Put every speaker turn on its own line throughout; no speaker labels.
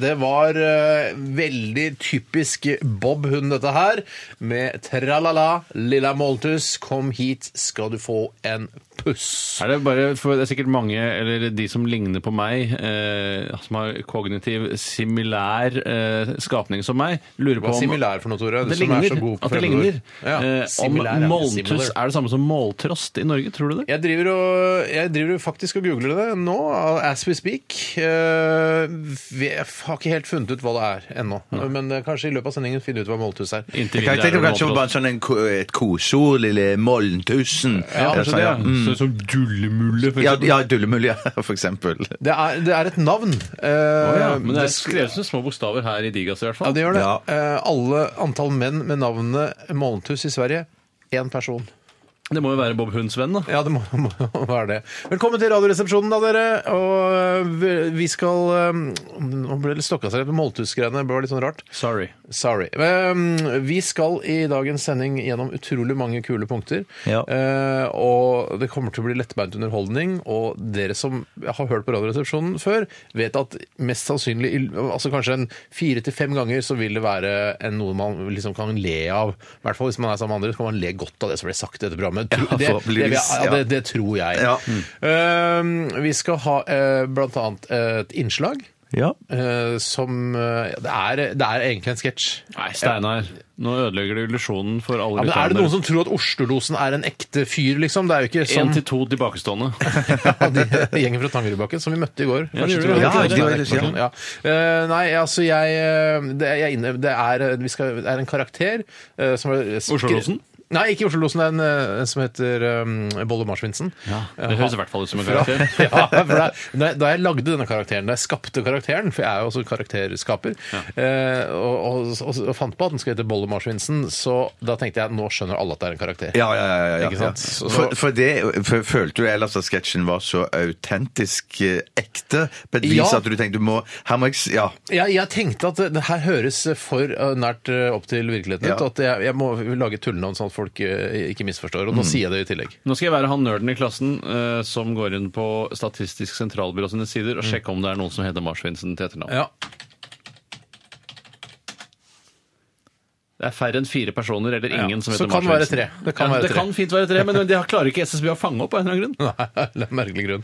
Det var eh, veldig typisk Bob-hund, dette her. Med tralala, lilla Montus, kom hit, skal du få en puss.
Er det, bare, for det er sikkert mange, eller de som ligner på meg, eh, som har kognitiv similær eh, skapning som meg, lurer
Hva
på
er
om
similær for noe, Tore? Du
det
som er
ligner,
så god på
at det
fremmedord.
ligner.
Ja,
eh, om
similar, ja.
måltuss
Similar.
er det samme som måltrost i Norge, tror du det?
Jeg driver, og, jeg driver faktisk og googler det nå, as we speak. Eh, vi- Jeg har ikke helt funnet ut hva det er ennå, men det er kanskje i løpet av sendingen finner ut hva måltuss er.
Inntil
Jeg kan
videre er
tenke
det
kanskje på
måltrost.
bare sånn en, ko- et koseord, lille Mollentusen.
Ja, kanskje det, ja.
Mm.
Så, som dullemulle, for
Ja,
eksempel.
ja Dullemulje, for eksempel.
Det er, det er et navn. Eh,
Å ja, men det er
sk-
skrevet som små bokstaver her i Digas i hvert
Ja,
fall.
det gjør det.
Ja.
Eh, alle antall menn med navnet Måntus i Sverige, én person.
Det må jo være Bob Hunds venn, da.
Ja, det må, må være det. Velkommen til Radioresepsjonen, da, dere. Og eh, vi- vi skal eh, Nå ble det stokka seg litt med Måltus-greiene. Det ble litt sånn rart.
Sorry.
Sorry. Eh, Vi skal i dagens sending gjennom utrolig mange kule punkter.
Ja.
Eh, Og det kommer til å bli lettbeint underholdning. Og dere som har hørt på Radioresepsjonen før, vet at mest sannsynlig, i- altså kanskje en fire til fem ganger, så vil det være en, noe man liksom kan le av. I hvert fall hvis man er sammen med andre, så kan man le godt av det som ble sagt i dette programmet. Tro-
Ja,
det, det, vil jeg-
forhåpentligvis,
ja,
ja.
det, det tror jeg.
Ja.
Eh, Vi skal ha eh, blant annet et innslag.
Ja.
eh, som eh, det, er, det er egentlig en sketsj.
Nei, Steinar. Nå ødelegger du illusjonen for alle
Ja, men Er det noen som tror at Oslo-losen er en ekte fyr, liksom? Det er jo ikke
Én
som
til to tilbakestående.
ja, de, gjengen fra Tangerudbakken som vi møtte i går.
Ja,
Første
de gjorde
tur.
det. Ja,
de gjorde det,
Ja. Eh, nei, altså jeg eh, Det, er- jeg, inne- det, er, eh, vi skal, det er en karakter eh, som er skre-
Oslo-losen?
Nei, ikke Oslo-losen. Det er en eh, som heter eh, Bolle Marsvinsen. Eh,
Det høres i hvert fall ut som en
Ja,
karakter.
for da, da jeg- da jeg lagde denne karakteren, da jeg skapte karakteren, for jeg er jo også karakterskaper, eh, og, og, og, og fant på at den skal hete Bolle Marsvinsen, så da tenkte jeg nå skjønner alle at det er en karakter.
Ja, ja, ja. ja, ja.
Ikke sant? Så-
For, for det for, Følte du ellers at sketsjen var så autentisk eh, ekte på et vis
Ja.
at du tenkte du må Her må jeg s- Ja.
Jeg, jeg tenkte at det- det her høres for eh, nært eh, opp til virkeligheten ut,
Ja.
at jeg, jeg må lage et tullenavn sånn at folk eh, ikke misforstår, og nå sier jeg det i tillegg.
Nå skal jeg være han nerden i klassen eh, som går inn på Statistisk sentralbyrå sine sider og sjekke om det er noen som heter Marsvinsen til etternavn.
Mm. Ja.
Det er færre enn fire personer eller
Ja,
ingen som
så
heter
kan det være
Marsvinsen.
tre. Det kan være
det
tre.
kan fint være tre, men det klarer ikke SSB å fange opp av en eller annen grunn.
Nei, det er en merkelig grunn.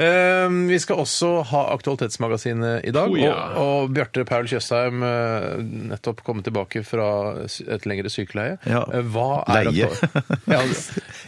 Eh, vi skal også ha Aktualitetsmagasinet i dag.
Oh, ja.
Og, og Bjarte Paul Tjøstheim, eh, nettopp kommet tilbake fra sy- et lengre sykeleie.
Ja.
Eh, Hva er
Leie.
aktu- ja,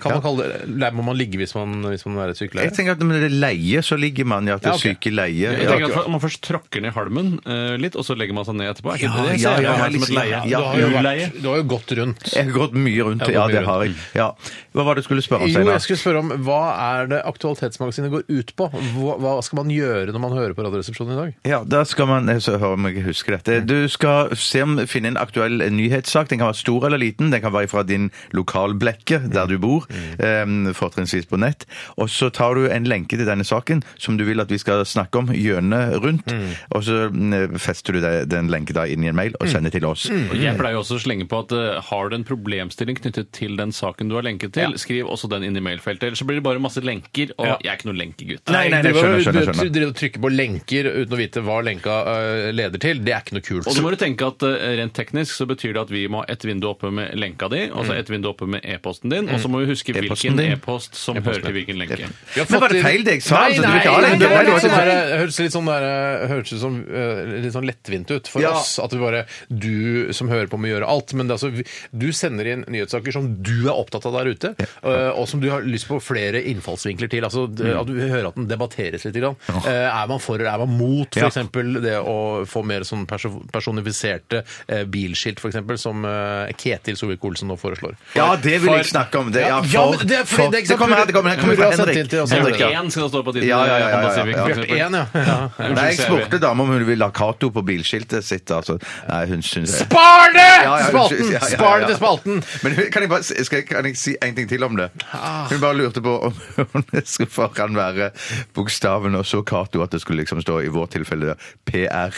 kan man kalle det leie? Må man ligge hvis man, hvis man er i et
Jeg
sykeleie?
tenker at når det er leie, så ligger man i at det
Ja,
er
ok.
syke leie.
Jeg tenker at Om man først tråkker ned halmen eh, litt, og så legger man seg ned etterpå. Er ikke
Ja,
det ser
ja,
jeg
ja,
for meg
ja,
som et leie?
Du
ja,
har jo,
Uleie.
vært, du har jo gått rundt.
Jeg har gått mye rundt.
Jeg
Ja,
har gått mye
det har jeg. Ja. Hva var det du skulle spørre om,
Jo, jeg
Steinar?
skulle spørre om Hva er det Aktualitetsmagasinet går ut på? Hva, hva skal man gjøre når man hører på Radioresepsjonen i dag?
Ja, da skal man eh, jeg skal høre om jeg husker dette. Du skal se om, finne en aktuell eh, nyhetssak. Den kan være stor eller liten. Den kan være fra din lokalblekke der du bor,
Mm.
eh, fortrinnsvis på nett. Og så tar du en lenke til denne saken som du vil at vi skal snakke om, hjørnet rundt. Og så mm, fester du deg- den lenken da inn i en mail
Mm.
og sender til oss.
Jeg pleier jo også å slenge på at eh, har du en problemstilling knyttet til den saken du har lenket til, skriv også den inn i mailfeltet. Ellers så blir det bare masse lenker, og
Ja.
jeg er ikke noen lenkegutt.
Nei, nei, nei,
Du
skjønner, skjønner,
du-
skjønner.
Du driver og trykker på lenker uten å vite hva lenka øh, leder til. Det er ikke noe kult.
Og så må du tenke at eh, rent teknisk så betyr det at vi må ha ett vindu oppe med lenka di, og så ett vindu oppe med e-posten din, og så må vi huske
Mm. E-posten
hvilken
din.
e-post som hører til hvilken lenke.
Vi har
Men
fått
var det
inn-
feil det jeg sa?
Nei,
Altså, du
nei,
vil ikke ha
nei,
den?
det var
Det
litt
var
sånn
sånn
der, hørtes litt sånn der, hørtes ut som øh, litt sånn lettvint ut for
Ja.
oss. At vi bare Du som hører på, må gjøre alt. Men det er altså, vi- du sender inn nyhetssaker som du er opptatt av der ute, øh, og som du har lyst på flere innfallsvinkler til. Altså d-
Mm.
at du hører at den debatteres litt. Grann. Eh, Er man for eller er man mot
Ja.
f.eks. det å få mer sånn perso- personifiserte eh, bilskilt, f.eks., som eh, Ketil Solvik-Olsen nå foreslår?
Ja, det vil jeg snakke om. Det, ja,
Ja, Ja,
for
men det er fordi-
for-
det er ikke sant,
kommer her, det kommer her, det kommer
Tore har sendt
fra Henrik.
inn til oss,
Henrik,
Henrik.
ja.
Bjarte 1 skal det stå på
Ja, ja, ja, ja, ja.
Honda Civic, for
Bjarte
eksempel.
Én, ja. ja.
Unnskyld,
Nei, jeg
ser vi.
spurte dama om hun ville ha Cato på bilskiltet sitt. Altså. Nei, hun syns det.
Spar det!
Ja, ja,
Spalten!
unnskyld, ja, ja, ja.
Spar det til spalten! Ah.
Men hun- kan jeg, bare, skal jeg, kan jeg si en ting til om det? Hun bare lurte på om hun skulle foran være bokstaven og så Cato, at det skulle liksom stå i vårt tilfelle da, PR.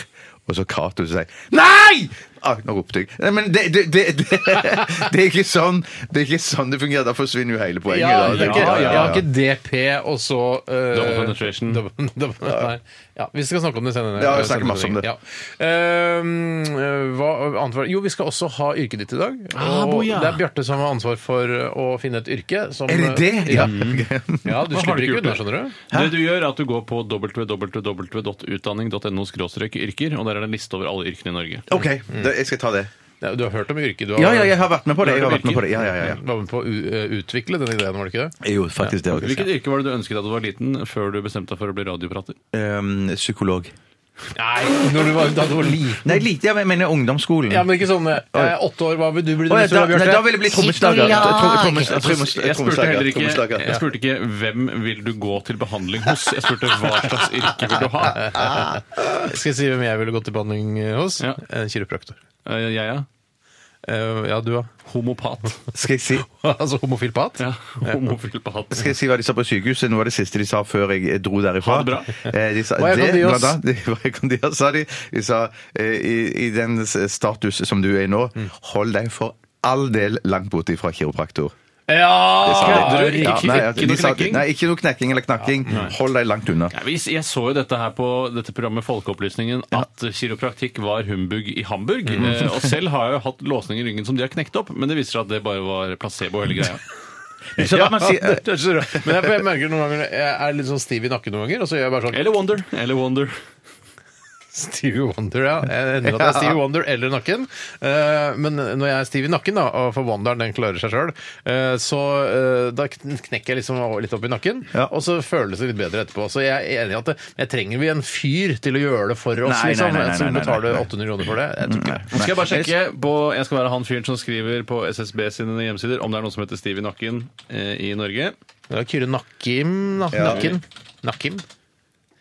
Og så Cato sier Nei! Ah, nå ropte jeg. Nei, men det, det, det, det, det er ikke sånn det er ikke sånn det fungerer. Da forsvinner jo hele poenget.
Ja, det
da,
er
tenker
ikke,
jeg.
ja, ja,
Jeg har ikke DP og så eh,
Double penetration.
double- double- nei. Ja, vi skal snakke om det senere.
Ja, vi snakker masse om det.
Ja. Ehm, eh, hva annet var det? Jo, vi skal også ha yrket ditt i dag.
Ah, boja.
det er Bjarte som har ansvar for å finne et yrke. Som,
Er det det?
Ja,
Ok.
ja du
Hva
slipper
har du
ikke
ikke
unna,
gjort?
skjønner du.
Det du gjør, er at du går på www.utdanning.no-yrker, og der er det en liste over alle yrkene i Norge.
OK, da, jeg skal ta det.
Ja, Du har hørt om yrket, du har
Ja, ja, jeg har vært med på det. Jeg har vært med på det. Ja, ja, ja, ja.
Var med på å u- eh, utvikle den ideen, var det ikke det?
Jo, faktisk det også.
Hvilket yrke var det du ønsket deg da du var liten, før du bestemte deg for å bli radioprater?
Ehm, psykolog.
Nei, når du var, da du var liten.
Nei, lite. Jeg mener ungdomsskolen.
Ja, men ikke sånn eh, åtte år, hva vil du bli?
Å, ja,
neste
da,
år,
nei, da vil jeg bli trommeslager.
Psykolog.
Trommes- trommes-
Jeg spurte heller ikke,
trommeslager.
jeg spurte ikke hvem vil du gå til behandling hos, jeg spurte hva slags yrke vil du ha.
Skal jeg si hvem jeg ville gått til behandling hos?
Ja.
En kiropraktor.
Eh, Jeg er
Eh, ja, du da?
homopat.
Skal jeg si
altså homofilpat?
Ja, homofilpat.
skal jeg si hva de sa på sykehuset? Noe av det siste de sa før jeg dro derifra.
Ha det bra.
Eh, De sa,
Hva er
det,
Kondios?
blant annet, de- hva er Kondios, sa de. De sa eh, i, i den s- status som du er i nå, hold deg for all del langt borte fra kiropraktor. Det sa de.
Kødder du? Ikke-
Ja,
ikke-
nei,
ikke
de
noe
sa-
knekking?
Nei, ikke noe knekking eller knakking. Hold deg langt unna.
Ja, vi- Jeg så jo dette her på dette programmet Folkeopplysningen at kiropraktikk var humbug i Hamburg.
Mm.
Eh, Og selv har jeg jo hatt låsninger i ryggen som de har knekt opp, men det viser seg at det bare var placebo hele greia.
Så la meg si-
det er så rart. Men jeg, jeg merker noen ganger Jeg er litt sånn stiv i nakken noen ganger, og så gjør jeg bare sånn
Eller Wonder. Eller Wonder.
Stevie Wonder, ja. Jeg ender at det er Stevie Wonder eller nakken. Eh, men når jeg er stiv i nakken, da, og for Wonderen den klarer seg sjøl, så eh, da kn- knekker jeg liksom over- litt opp i nakken,
Ja.
og så føles det litt bedre etterpå. Så jeg er enig i at det, jeg trenger vi en fyr til å gjøre det for oss,
Nei, nei,
liksom.
nei, nei,
Så
nei, nei,
betaler
nei.
800 kroner for det. Jeg tror ikke det.
Skal jeg bare sjekke på Jeg skal være han fyren som skriver på SSB sine hjemmesider om det er noen som heter Steve i nakken eh, i Norge.
Det er Kyrre Nakkim, na,
Ja.
Nakken. Nakkim.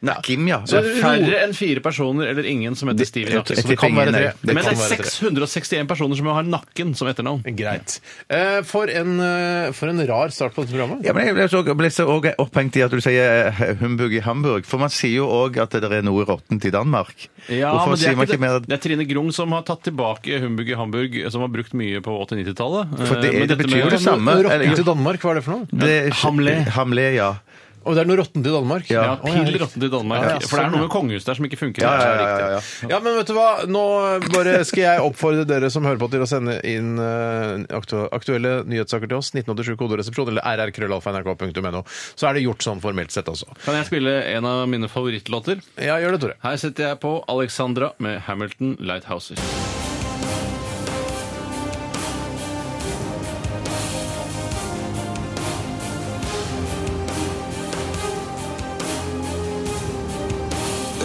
Nakkim, ja.
Så det er færre enn fire personer eller ingen som heter Steve i
Jeg- jeg
nakken.
det kan
tipper ingen,
være
nei.
tre.
Det
Men det
kan
er
være tre.
661 personer som har nakken som etternavn.
Greit. Eh, for, en, eh, for en rar start på dette programmet.
Ja, men Jeg ble så, ble så også opphengt i at du sier eh, humbug i Hamburg. For man sier jo òg at det er noe råttent i Danmark.
Ja,
Hvorfor
men det,
sier
er
man
ikke
ikke
det,
mer
det er Trine Grung som har tatt tilbake Humbug i Hamburg, som var brukt mye på 80- 90-tallet.
For det er-
Eh, men
det
dette
betyr jo
med-
det samme.
Noe
eller-
råttent til Danmark, hva er det for noe?
det,
Hamlé.
Hamlé, ja.
Og det er noe råttent til Danmark?
Ja,
Å,
pill
herregud.
råttent i Danmark.
Ja, ja,
for det
sånn,
er noe
ja.
med kongehuset der som ikke funker.
Ja,
Det er
ja, ja,
riktig.
ja, ja.
Ja, men vet du hva? Nå bare skal jeg oppfordre dere som hører på til å sende inn eh, aktu- aktuelle nyhetssaker til oss, 1987 koderesepsjon eller rrkrøllalfa.nrk.no. Så er det gjort sånn formelt sett, altså.
Kan jeg spille en av mine favorittlåter?
Ja, gjør det, Tore.
Her setter jeg på Alexandra med Hamilton Lighthouses.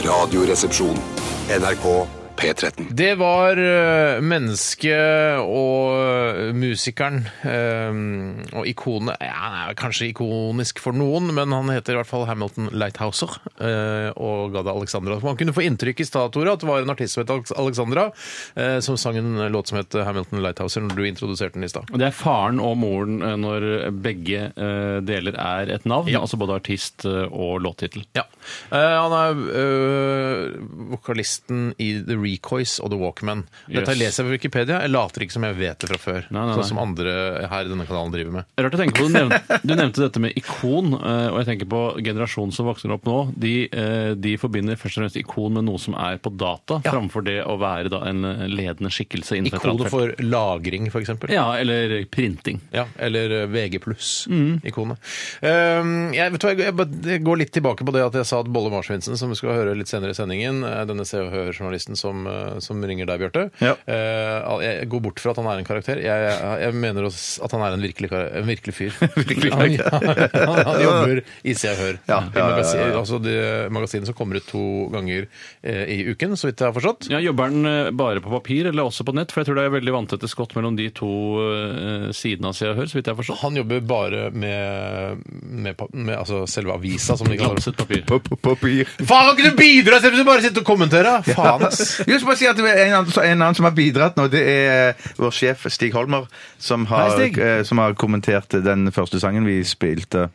Radioresepsjon. NRK P13.
Det var eh, mennesket og musikeren eh, og ikonet ja, Han er kanskje ikonisk for noen, men han heter i hvert fall Hamilton Lighthouser eh, og ga det Alexandra. Man kunne få inntrykk i stad, Tore, at det var en artist som het Alex- Alexandra, eh, som sang en låt som het Hamilton Lighthouser når du introduserte den i stad.
Og Det er faren og moren eh, når begge eh, deler er et navn, altså både artist eh, og låttittel.
Ja. Eh, han er eh, vokalisten i The Recoys og The Walkman. Dette
Yes.
leser jeg på Wikipedia. Jeg later ikke som jeg vet det fra før,
Nei, nei, nei.
sånn som andre her i denne kanalen driver med.
Rart å tenke på, du nevnte, du nevnte dette med ikon, eh, og jeg tenker på generasjonen som vokser opp nå. De, eh, de forbinder først og fremst ikon med noe som er på data, framfor det å være da en eh, ledende skikkelse innenfor et
Ikonet
eller annet felt.
for lagring, f.eks. Ja.
Ja, eller printing.
ja. Eller eh, VG
Mm.
pluss-ikonet. Ehm, jeg, vet du hva, jeg, jeg, bare- jeg går litt tilbake på det at jeg sa at Bolle Marsvinsen, som vi skal høre litt senere i sendingen, eh, denne Se og Hør-journalisten som som, eh, som ringer deg, Bjarte.
Ja.
Eh, jeg går bort fra at han er en karakter. Jeg, jeg mener også at han er en virkelig, kar- en virkelig fyr.
Virkelig
han,
karakter.
han, han jobber i Se og Hør. I
Ja, ja, ja,
magasin,
ja,
Altså det magasinet som kommer ut to ganger eh, i uken, så vidt jeg har forstått.
Ja, Jobber den eh, bare på papir eller også på nett? For jeg tror det er veldig vanntette skott mellom de to eh, sidene av Se og Hør, så vidt jeg har forstått.
Han jobber bare med, med, pa- med altså selve avisa, som de kaller det.
Glanset papir.
På- på- Papir.
Faen, kan ikke du bidra istedenfor å bare sitte og kommentere? Faen, ass!
Jeg skal bare si at det er en, annen, en annen som har bidratt nå, det er eh, vår sjef Stig Holmer, som har,
Hei, Stig.
eh, som har kommentert den første sangen vi spilte.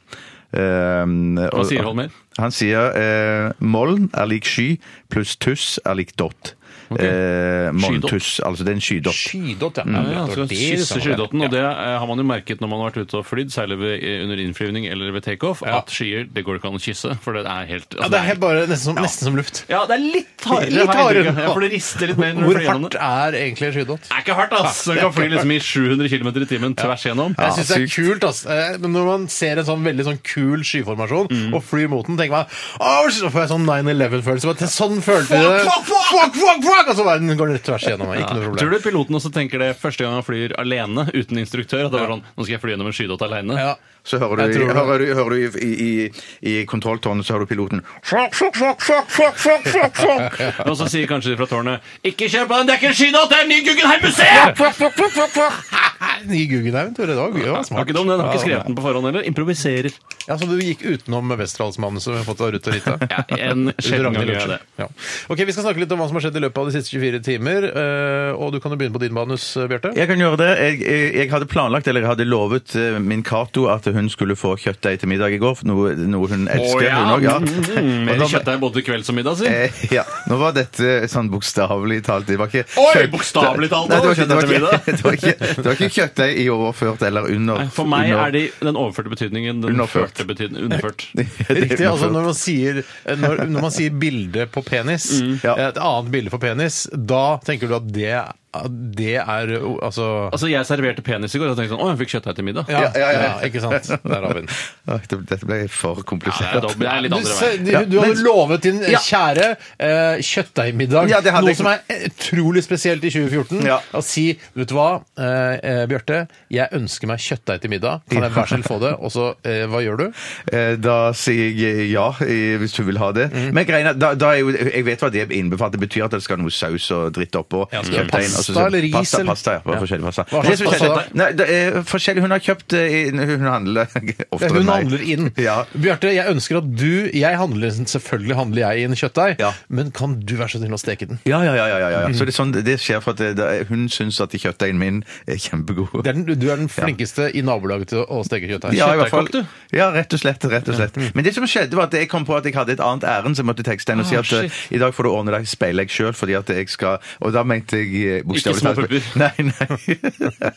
eh, Hva
Hva sier Holmer?
Han sier eh, 'moln er lik sky pluss tuss er lik dott'.
Ok.
Eh, moln,
Skydott.
tuss, altså det er en skydott.
Skydott, ja.
Ja,
Det
Mm. ja,
var
så
det liksom.
Kysse
som var det.
skydotten, og det eh, har man jo merket når man har vært ute og flydd, særlig ved, eh, under innflyvning eller ved takeoff,
Ja.
at skyer det går ikke an å kysse. For det er helt
Ja,
altså,
det er helt bare nesten som, nesten som luft.
Ja, det er litt hardere,
Litt
har jeg
hardere.
inntrykk av. Ja, for det rister litt mer når du
Hvor
flyr gjennom
hardt
det.
er egentlig en skydott?
Det er ikke hardt, ass! Du kan fly liksom i 700 km i timen tvers gjennom.
Jeg syns det er
sykt.
kult, ass. Eh, Men når man ser en sånn veldig sånn kul skyformasjon
Mm.
og flyr mot den, tenker man Åh, Så får jeg sånn 9-11-følelse. Bare, Sånn følte jeg det. Fuck, fuck, fuck, fuck! Og så bare, den går den tvers igjennom meg. Ikke noe
Tror
problem.
du piloten også tenker det første gang han flyr alene, uten instruktør? At det var sånn Nå skal jeg fly gjennom en skydott alene.
Ja.
Så hører du,
Jeg tror det.
hører du, hører du i, i, i, i kontrolltårnet, så hører du piloten
Og så sier kanskje de fra tårnet Ikke kjør på den, det er ikke en skydott, det er en ny Guggenheim-museet!
Ny Guggenheim, Tore. Det var gøy. det var
Har
Smart.
ikke dum den, har ikke
Ja,
skrevet den på forhånd heller. Improviserer.
Ja, så du gikk utenom Westerdalsmannen som vi har fått av Ruth og Rita?
Ja, en sjelden gang
Ragnhild
gjør jeg
Lundsen.
det.
Ja. Ok, Vi skal snakke litt om hva som har skjedd i løpet av de siste 24 timer. eh, Og du kan jo begynne på din manus, eh, Bjarte.
Jeg kan gjøre det. Jeg, jeg, jeg hadde planlagt, eller jeg hadde lovet eh, min Cato at hun skulle få kjøttdeig til middag i går, for noe, noe hun elsker. hun også, ja.
Mm,
Og
Mer
da-
kjøttdeig både til kvelds og middag, si.
Eh, ja. Nå var dette sånn bokstavelig talt. Det var ikke
Oi,
kjøtt-
bokstavelig talt,
Nei, det,
da,
var ikke, det, var
kjøttdeig
ikke, det, var ikke, det var ikke kjøttdeig i overført eller under.
Nei, For meg
under-
er de den overførte betydningen den
Underført.
førte betydningen underført.
Ja, det er
Riktig, altså
underført.
når man sier, eh, når, når man sier bilde på penis,
Mm. Ja.
eh, et annet bilde på penis, da tenker du at det, at det er eh, o- Altså
Altså, jeg serverte penis i går og tenkte sånn Å, jeg fikk kjøttdeig til middag.
ja,
Ja, ja, ja.
ikke sant? Der har vi den.
Oi, det- Dette ble for
Det er,
komplisert.
dobbelt, det er litt
Du,
andre
se-
veien.
du,
Ja,
du hadde
men-
lovet din eh,
Ja.
kjære eh, kjøttdeigmiddag,
Ja, det hadde
noe
jeg-
som er utrolig spesielt i 2014.
Ja.
Å si vet du hva, eh, eh, Bjarte, jeg ønsker meg kjøttdeig til middag. Kan jeg vær så snill få det? Og så, eh, hva gjør du?
Eh, Da sier jeg ja, eh, hvis du vil ha det.
Mhm.
Men greina, da, da er jo, jeg vet hva det innbefatter. Det betyr at det skal ha noe saus og dritt oppå.
Ja, skal det være
Kjøttdeig,
pasta
altså, så-
eller ris,
Pasta,
eller?
pasta, ja. Bare
Ja.
forskjellig pasta.
Hva
Det er
slags
forskjellig.
pasta?
Nei, det er forskjellig. Hun har kjøpt eh, inn- Hun handler oftere enn
Hun
meg.
handler inn.
Ja.
Bjarte, jeg ønsker at du Jeg handler Selvfølgelig handler jeg inn kjøttdeig,
Ja.
men kan du være så snill å steke den?
Ja, ja, ja. ja, ja,
Mhm.
ja. Så det, er sånn, det skjer for at det, det, er- hun syns at kjøttdeigen min er kjempegod.
Det er den du er den flinkeste i nabolaget til å steke kjøttdeig.
Ja, i hvert fall.
Kjøttdeigkokk, du.
Ja, rett og slett. rett og slett.
mhm.
Men det som skjedde var at jeg kom på at jeg hadde et annet ærend, så jeg måtte tekste henne og si
Ah,
at eh, i dag får du ordne deg speilegg sjøl, fordi at jeg skal Og da mente jeg eh, bokstavelig
Ikke små
Nei,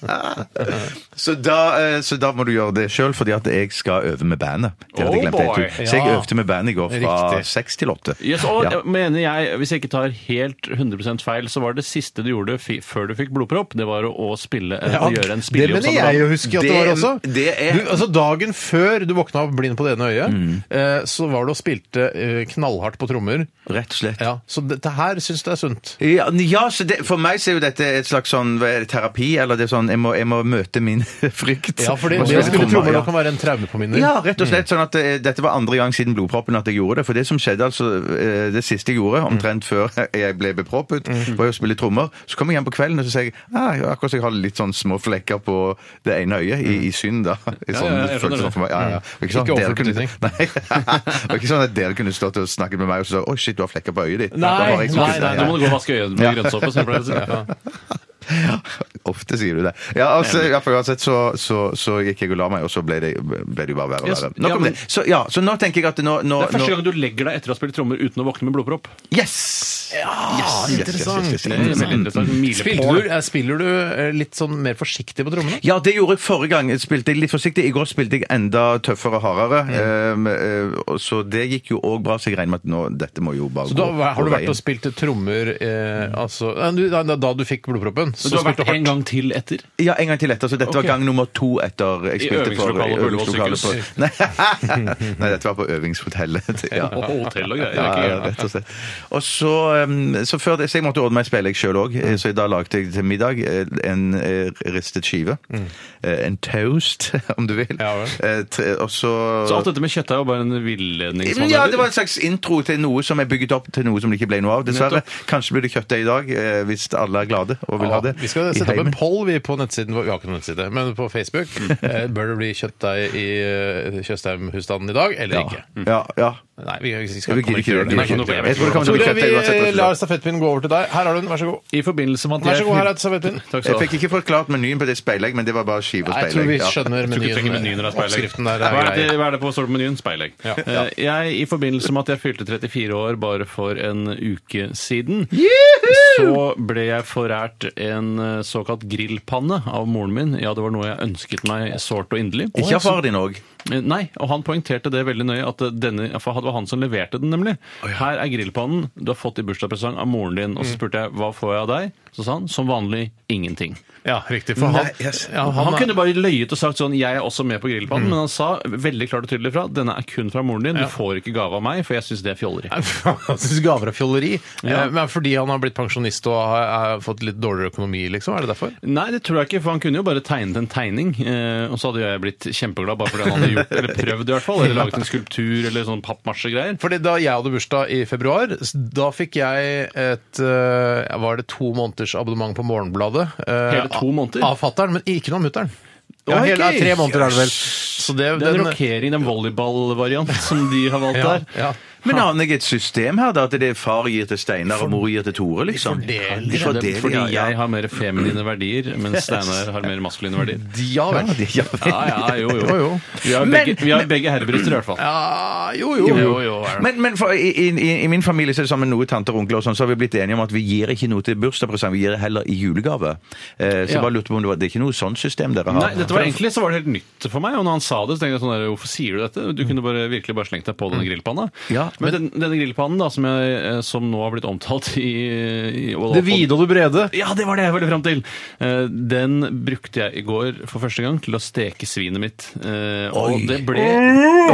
nei. så, da, eh, så da må du gjøre det sjøl, fordi at jeg skal øve med bandet. Det hadde jeg
Oh,
glemt helt
boy.
ut. Så jeg
Ja.
øvde med bandet i går fra
Riktig.
seks til åtte.
Yes, og
Ja.
mener jeg, Hvis jeg ikke tar helt 100 feil, så var det siste du gjorde fi, før du fikk blodpropp, det var å, å spille eh, å gjøre en
det
spillejobb.
mener
sånn sammen
jeg
med-
å huske at det, var
Det-
også.
det er-
du, altså Dagen før du våkna opp blind på det ene øyet,
Mm.
eh, så var du og spilte eh, knallhardt på trommer.
Rett og slett.
Ja, Så dette her syns jeg er sunt.
Ja, ja så det, For meg så er jo dette et slags sånn hva er det, terapi. Eller det er sånn, jeg må, jeg må møte min frykt.
Ja, for det
Og
det å spille trommer
ja.
nå kan være en traumepåminner.
Ja, rett og slett. sånn at eh, Dette var andre gang siden blodproppen at jeg gjorde det. For det som skjedde, altså, eh, det siste jeg gjorde,
Mm.
omtrent før jeg ble beproppet, var jo å spille trommer. Så kom jeg hjem på kvelden og så sier jeg, ah, jeg- akkurat som jeg har litt sånn små flekker på det ene øyet i, i synd.
Mm.
da. I
Ja,
sånn,
ja, jeg skjønner
følelse
det.
for meg. Ja, ja. Det var Ikke
Ikke
sånn at dere
overført
kunne,
betydning.
nei, det var ikke sånn at dere kunne stått og snakket med meg og så sa, oi, shit, du har flekker på øyet ditt.
Nei,
Det var jeg som
nei,
kunne-
nei,
Nå må du gå og vaske øynene med grønnsåpe. som jeg pleier å si.
Ofte sier du det. Ja, altså, ja, for uansett så, så, så gikk jeg og la meg, og så ble det, ble det jo bare verre og
Ja, så-
verre. Nok
ja,
om
men-
det. Så, ja, så nå tenker jeg at nå, nå,
Det er første
nå
gang du legger deg etter å ha spilt trommer uten å våkne med blodpropp.
Yes!
Ah, interessant.
Det er veldig interessant.
Spilte
Milepål.
du, eh, spiller du eh, litt sånn mer forsiktig på trommene?
Ja, det gjorde jeg forrige gang. Jeg Spilte jeg litt forsiktig. I går spilte jeg enda tøffere og hardere.
Mm.
Ehm, eh, og så det gikk jo òg bra, så jeg regner med at nå dette må jo bare
Så da,
gå
har du
gå
vært
veien.
og spilt trommer eh, altså, eh, du, da, da du fikk blodproppen? Så
Men du har vært
spilte hardt.
en gang til etter?
Ja, en gang til etter. Så dette
Ok.
var gang nummer to etter jeg
I
spilte for
øvingslokalet på Ullevål
øvingslokalet
sykehus.
på- Nei. Nei, dette var på øvingshotellet. Ja.
Og hotell og greier. det er
Ja,
ikke
ja,
gærent.
rett og slett. Og så, um, så, før det, så jeg måtte ordne meg speilegg sjøl òg,
Mm.
så da lagde jeg til middag eh, en eh, ristet skive. Eh, En toast, om du vil.
Mm. Ja, vel.
Eh, tre- Og så Mm,
Så alt dette med kjøttdeig var bare en
sånn,
villedningsmanøver?
ja, det var en slags intro til noe som er bygget opp til noe som det ikke ble noe av, dessverre. Kanskje blir det kjøttdeig i dag, eh, hvis alle er glade og vil ha det.
Vi skal
i
sette opp en
heimen.
poll vi på nettsiden vår. Vi har ikke noen nettside, men på Facebook. Eh, Bør det bli kjøttdeig i eh, Tjøstheim-husstanden i dag, eller ikke?
Ja, ja.
Nei, vi, vi
Ja,
skal
vi
kommer ikke
gidder ikke
gjøre
det.
Mm. det.
Nei,
ikke noe
Jeg tror det kommer til å bli
Tore,
kjøttdeig uansett.
vi eh,
rett og
lar
slett.
stafettpinnen gå over til deg. Her har du den, vær så god.
I forbindelse med at
Vær så god, her
jeg
er stafettpinnen.
Takk
Jeg
skal du ha.
fikk ikke forklart menyen på det speilegg, men det var bare skive og
Jeg tror vi
speilegg. ja.
skjønner
Jeg tror ikke du trenger menyen
menyen. eh,
eller speilegg.
Oppskriften der
Hva
er
er det,
grei.
hva er det på står det på menyen? Speilegg. Eh, Jeg, I forbindelse med at jeg fylte 34 år bare for en uke siden, så ble jeg forært en eh, såkalt grillpanne av moren min. Ja, det var noe jeg ønsket meg sårt og inderlig.
Ikke av far din òg.
Eh, Nei, og han poengterte det veldig nøye, at eh, denne, for det var han som leverte den, nemlig. Her er grillpannen du har fått i bursdagspresang av moren din.
Mm.
Og så spurte jeg hva får jeg av deg? Så sa han som vanlig ingenting.
Ja, riktig. For han,
Nei, yes.
ja,
Han,
han,
kunne bare løyet og sagt sånn 'jeg er også med på grillpannen', men han sa veldig klart og tydelig fra 'denne er kun fra moren din, du får ikke gave av meg', for jeg syns det er fjolleri.
Han syns gaver er fjolleri.
Ja.
altså. Eh, Men fordi han har blitt pensjonist og har, har fått litt dårligere økonomi, liksom? Er det derfor?
Nei, det tror jeg ikke, for han kunne jo bare tegnet en tegning, eh, og så hadde jeg blitt kjempeglad bare fordi han hadde gjort eller prøvd, i hvert fall, eller laget en skulptur eller sånn pappmasjegreier.
Fordi Da jeg hadde bursdag i februar, s- da fikk jeg et eh, Var det to måneders abonnement på Morgenbladet? eh,
Hele to måneder?
Av fatter'n, men ikke noe av mutter'n. Ja,
Ja, ok.
hele- ja, tre måneder er det vel. Så det,
Det er en rokering, den volleyballvariant som de har valgt
ja,
der.
ja.
Men aner jeg et system her, da? At det er far gir til Steinar, og mor gir til Tore, liksom?
De fordeler.
De fordeler,
Fordi
ja, ja.
jeg har mer feminine verdier, mens Steinar har mer maskuline verdier.
Ja vel.
Ja, de- ja,
Ja, ja, jo, jo.
Jo, jo.
Vi har begge, vi har begge herrebryster, i hvert fall.
Ja, Ah, jo, jo.
Jo, jo, er det.
Men, men for, i, i, i- i min familie så er det sammen med noen tanter og onkler, og sånn, så har vi blitt enige om at vi gir ikke noe til bursdagspresang, vi gir det heller i julegave. Eh,
Ja.
så jeg bare lurte på om det var Det er ikke noe sånn system dere har?
Nei, dette var egentlig så var det helt nytt for meg. Og når han sa det, så tenkte jeg sånn der, hvorfor sier du dette? Du kunne bare virkelig bare slengt deg på denne grillpanna.
Ja,
men den, denne grillpannen da, som, jeg, eh, som nå har blitt omtalt i, i og-
Det vide og det brede.
Ja, det var det jeg ville fram til! Eh, Den brukte jeg i går for første gang til å steke svinet mitt. Eh, Og
Oi.
det ble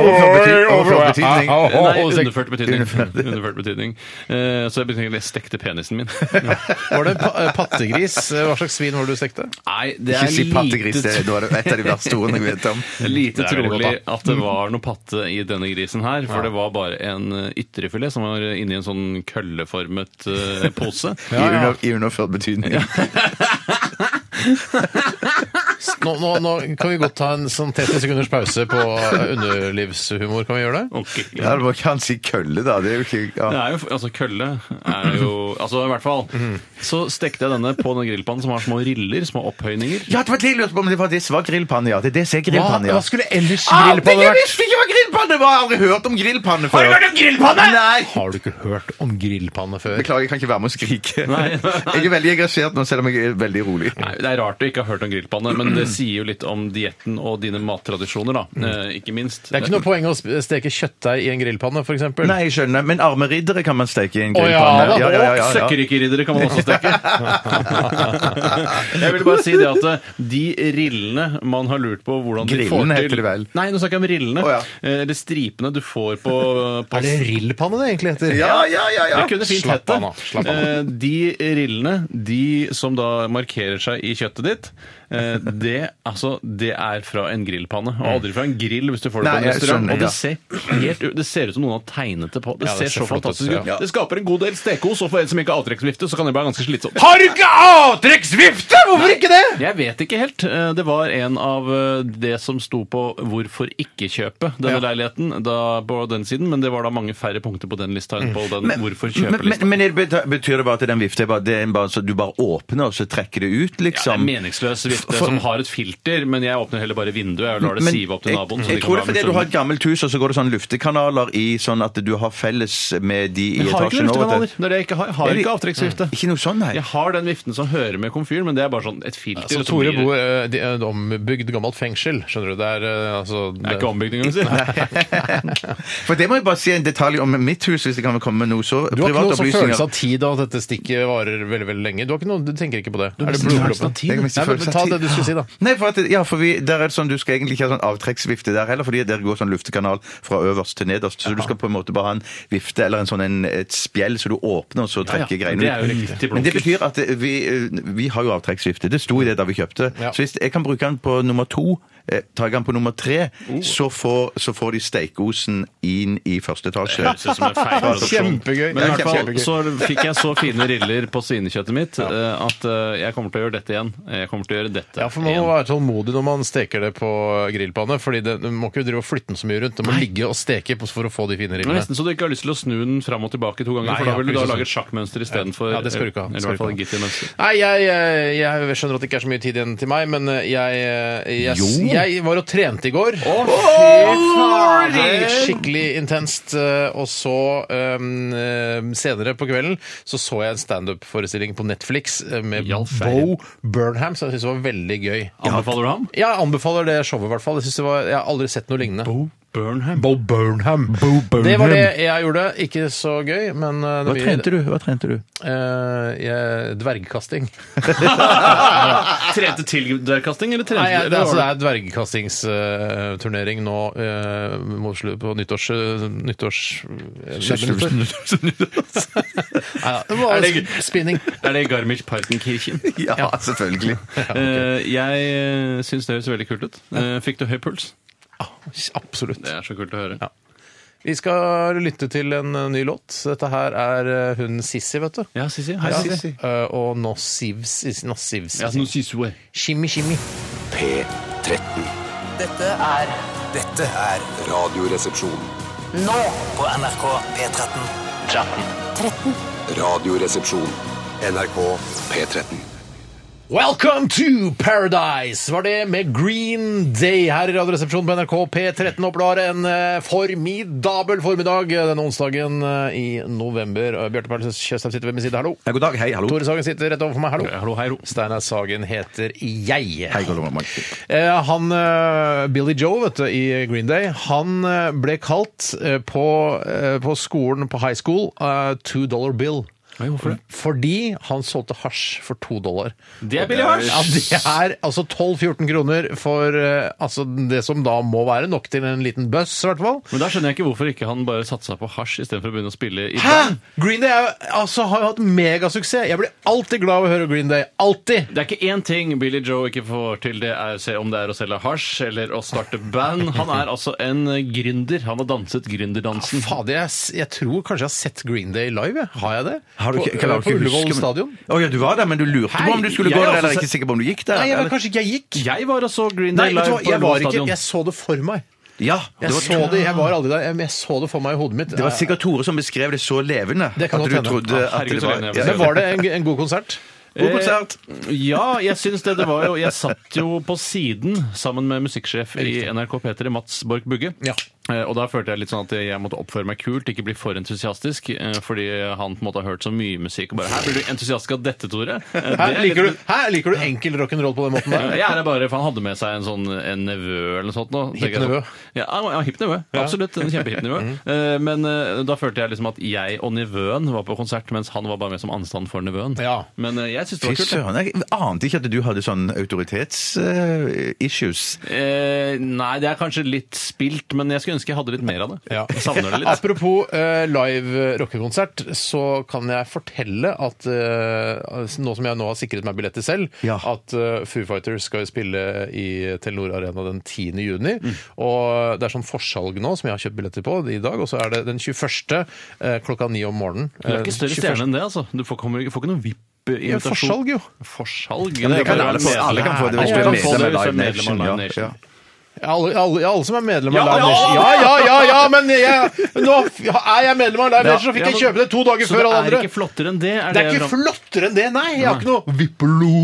Overfor betydning.
Au, au, au.
Nei,
og stek-
underført betydning. Underført betydning. Eh, Så jeg betyr, jeg stekte penisen min.
Var det pa eh, pattegris? Eh, Hva slags svin var det du stekte?
Nei, det
Ikke
er
si pattegris, det
lite
er nå er det et av de verste ordene jeg vet om.
Lite
Det er veldig
trolig
godt,
at det var noe patte i denne grisen her, for det var bare en eh, ytrefilet som var inni en sånn kølleformet eh, pose.
I, under, I underført betydning.
Nå, nå, nå kan vi godt ta en sånn 30 sekunders pause på eh, underlivshumor. Kan vi gjøre det?
Ok.
Ja, du må ikke si kølle, da. Det er jo ikke
Det
ja.
er jo, altså Kølle er jo Altså, i hvert fall.
Mm.
Så stekte jeg denne på den grillpannen som har små riller, små opphøyninger.
Ja, det var det jeg lurte på om det var det som var grillpanne, ja. Det er det som er grillpanne, ja.
skulle ellers
Ah, det jeg visste ikke var grillpanne! Jeg har aldri hørt om grillpanne før. Har du hørt om grillpanne?! Nei!
Har du ikke hørt om grillpanne før?
Beklager, jeg kan ikke være med å skrike.
Nei.
Jeg er veldig engasjert nå, selv om jeg er veldig rolig.
Nei, Det er rart du ikke har hørt om grillpanne, men det sier jo litt om dietten og dine mattradisjoner, da. Eh, ikke minst.
Mm. Det er ikke noe poeng å sp- steke kjøttdeig i en grillpanne, f.eks.
Nei, jeg skjønner, men arme riddere kan man steke i en
Å, ja,
grillpanne.
da.
Søkkerikeriddere kan man også steke. jeg vil bare si det at eh, de rillene man har lurt på hvordan de får
Grillen
til
heter det vel?
Nei, nå snakker jeg om rillene.
Å, ja.
Eh, Eller stripene du får på, på
Er det rillpanne det egentlig heter?
Ja, ja, ja, ja.
Det kunne fint
Slapp
hett det.
av nå, slapp av nå.
Eh, De rillene, de som da markerer seg i kjøttet ditt, eh, det, altså, det er fra en grillpanne. Og aldri fra en grill hvis du får det
Nei,
på en
jeg
restaurant.
skjønner,
og det
ja.
ser, helt, ut- det ser ut som noen har tegnet det på. Det,
Ja, det
ser,
ser
så
flott ut,
fantastisk ut.
ja.
Det skaper en god del stekos, og for en som ikke har avtrekksvifte, så kan det være ganske slitsomt.
Har du ikke avtrekksvifte?! Hvorfor ikke det?!
Jeg vet ikke helt. Eh, Det var en av eh, det som sto på 'Hvorfor ikke kjøpe' denne leiligheten da, på den siden, men det var da mange færre punkter på den lista enn på den 'Hvorfor
Mm. Men,
kjøpe'-lista.
men, men er det bet- betyr det bare at den vifta er bare, det er bare så du bare åpner, og så trekker det ut,
Ja, det
liksom?
er meningsløs vifte. bedrift eh,
for-
som har et filter, men jeg åpner heller bare vinduet og lar det
Men
sive opp til naboen. så de
Jeg, jeg
kan
tror
være sånn-
det er fordi du
misunnelige.
har et gammelt hus, og så går det sånn luftekanaler i, sånn at du har felles med de i
Jeg har ikke
etasjen
noen
over.
luftekanaler. Det er det jeg ikke har. Jeg har ikke avtrekksvifte.
Ikke noe sånn, nei.
Jeg har den viften som hører med komfyren, men det er bare sånn et filter.
Så
og så
Tore
blir-
bor eh, i et ombygd gammelt fengsel, skjønner du. Det er eh, altså
Det er ikke ombygd engang, sier jeg.
For det må jeg bare si en detalj om mitt hus, hvis det kan komme med noe så
Du har ikke
private
noe sånn følelse
opplysninger.
av tid og at dette stikket varer veldig veldig lenge? Du, har ikke noe, du tenker ikke på det? Er det
mister følelsen av
blodproppen?
tid.
Jeg mister
Nei, men
følelsen av
Ta
tid.
det du skulle si, da.
Nei, for, at, ja, for vi, der er det sånn, Du skal egentlig ikke ha sånn avtrekksvifte der heller, fordi der går sånn luftekanal fra øverst til nederst. Så du skal på en måte bare ha en vifte eller en sånn en, et spjeld, så du åpner, og så trekker
ja,
greiene
det er jo
ut.
riktig
Men det
blunker.
betyr at vi, eh, vi har jo avtrekksvifte. Det sto i det da vi kjøpte.
Ja.
Så hvis jeg kan bruke den på nummer to eh, Tar jeg den på nummer tre,
Oh.
så, får, så får de steikosen inn i første etasje.
Høres ut som en feil adopsjon.
Kjempegøy.
Men i hvert fall
Kjempegøy.
så fikk jeg så fine riller på svinekjøttet mitt eh, at eh, jeg kommer til å gjøre dette igjen. Jeg kommer til å gjøre dette
Ja, for Man må
igjen.
være tålmodig når man steker det på grillpanne. fordi det, Du må ikke drive og flytte den så mye rundt. Det må ligge og steke på- for å få de fine
Det er
rillene.
nesten så du ikke har lyst til å snu den fram og tilbake to ganger,
Nei,
for da
jeg har
vil du
ikke
da
lyst til
lage et sjakkmønster istedenfor.
Ja, det skal du ikke ha.
Eller i
Skal du
hvert fall et
ikke ha.
gittermønster.
Nei, jeg, jeg, jeg skjønner at det ikke er så mye tid igjen til meg, men eh, jeg, jeg, jeg, var og trente i går. Skikkelig intenst. eh, Og så um, eh, senere på kvelden så så jeg en standup-forestilling på Netflix eh, med
Hjalp
Bo Burnham, som jeg syntes var veldig gøy.
Anbefaler du ham?
Jeg anbefaler det showet, i hvert fall. Jeg, synes det var, jeg har aldri sett noe lignende.
Bo Burnham.
Bo Burnham. Det var det jeg gjorde. Ikke så gøy, men eh, det
Hva trente du? Hva trente du?
Eh, jeg, dvergkasting.
Trente til dørkasting, eller trente
Nei, jeg, det,
eller
altså, det
var
er dvergkastingsturnering nå eh, mot slu- på nyttårs... eh, nyttårs Nei, da. Det
Er
var
det gøy?
spinning.
det- Er det Garmisch-Partenkirchen?
Ja, selvfølgelig.
Eh, Jeg syns det høres veldig kult ut. Eh, Fikk du høy puls?
Ah, Absolutt.
Det er så kult å høre.
Vi skal lytte til en eh, ny låt. Dette her er eh, hun Sissy, vet du.
Ja, Sissi. Hei,
Ja.
Sissi.
Eh, og Nossiv Sissi. Nossiv Sissi.
Ja, Sissi.
Shimmy, shimmy.
P13.
Dette er
Dette er Radioresepsjon.
nå på NRK P13.
Radioresepsjon. NRK P13.
Welcome to Paradise! Var det med Green Day her i Radioresepsjonen på NRK P13 opplar en eh, formidabel formiddag eh, denne onsdagen eh, i november. Eh, Bjarte Perlsen Tjøstheim sitter ved min side, hallo.
Ja, god dag. Hei, hallo.
Tore Sagen sitter rett overfor meg, hallo.
Hallo, hei, ro.
Steinar Sagen heter jeg.
Hei, god dag, Mark.
Eh, han, eh, Billy Joe vet du, i Green Day, han eh, ble kalt eh, på, eh, på skolen på high school eh, Two Dollar Bill.
hvorfor det?
Fordi han solgte hasj for to dollar.
Det er billig hasj!
Ja, det er altså 12-14 kroner for eh, altså, det som da må være nok til en liten buss, i hvert fall.
Men da skjønner jeg ikke hvorfor ikke han bare satsa på hasj istedenfor å begynne å spille i
Hæ?! Green Day er, jo- altså, har jo hatt megasuksess. Jeg blir alltid glad av å høre Green Day. Alltid!
Det er ikke én ting Billy Joe ikke får til, det er å se om det er å selge hasj eller å starte band. Han er altså en gründer. Han har danset gründerdansen.
Fader, jeg, s- jeg tror kanskje jeg har sett Green Day live. jeg. Har jeg det?
Har du ikke,
på
klarer
på
ikke å huske,
Ullevål
men-
stadion?
Å ja, du var der, men du lurte
Hei,
på om du skulle
jeg
gå
har
der, eller
også
ikke sikker på om du gikk der.
Nei, jeg vet
eller?
kanskje ikke jeg gikk.
Jeg var altså Green
Nei,
Day
vet du hva?
live på
Jeg, var
Ullevål
ikke,
stadion.
jeg så det for meg.
Ja, det
Jeg
var,
så det, jeg var aldri der, men jeg så det for meg i hodet mitt.
det var sikkert Tore som beskrev det så levende
Det kan
at
godt
du
hende.
trodde
Ja,
at
herregud,
det
så
var
lenge jeg
ja,
var-
Men var det en, en god konsert?
God konsert!
Eh, Ja, jeg syns det. Det var jo Jeg satt jo på siden sammen med musikksjef i NRK P3, Mats Borch Bugge.
Ja.
Eh, Og da følte jeg litt sånn at jeg måtte oppføre meg kult, ikke bli for entusiastisk. eh, Fordi han på en måte har hørt så mye musikk og bare Her blir du entusiastisk av dette, Tore. Eh, det
Hæ,
er litt-
liker, du, hæ, liker du enkel rock'n'roll på den måten der?
Jeg er det bare, for Han hadde med seg en sånn en nevø eller noe sånt. nå, tenker jeg
nevø.
sånn. Ja, han- ja, hipp nevø. Absolutt. En kjempehipp nevø. Eh, Men eh, da følte jeg liksom at jeg og nevøen var på konsert, mens han var bare med som anstand for nevøen.
Ja.
Men eh, jeg syns det
Fy
var kult. jeg.
søren, jeg ante ikke at du hadde sånn autoritetsissues.
Eh, nei, det er kanskje litt spilt, men jeg skulle ønske jeg hadde litt mer av det.
Ja.
Jeg savner det litt.
Apropos eh, live rockekonsert, så kan jeg fortelle at eh, nå som jeg nå har sikret meg billetter selv,
Ja.
at eh, Foo Fighters skal spille i Telenor Arena den 10. juni.
Mm.
Og det er sånn forsalg nå, som jeg har kjøpt billetter på i dag, og så er det den 21. eh, klokka ni om morgenen.
Du er ikke større stjerne enn det, altså. Du får, kommer, får ikke noe
Ja,
VIP-invitasjon.
forsalg, jo.
Forsalg?
det kan alle få. Alle kan få det hvis
Alle
du er
kan få
medlem
det hvis du er
av Live
medlem av
Nation,
Live
ja,
Nation.
ja.
Alle, alle, alle som er medlem av
Ja,
Live Nation. Ja,
ja,
ja, ja, ja, men jeg, nå f- er jeg medlem av Live
Ja,
Nation, så fikk
ja,
jeg
men-
kjøpe det to dager
så
før alle
det er
andre.
ikke flottere enn det? Er
Det er ikke
jeg-
sånn-
flottere enn det, nei! Jeg har ikke noe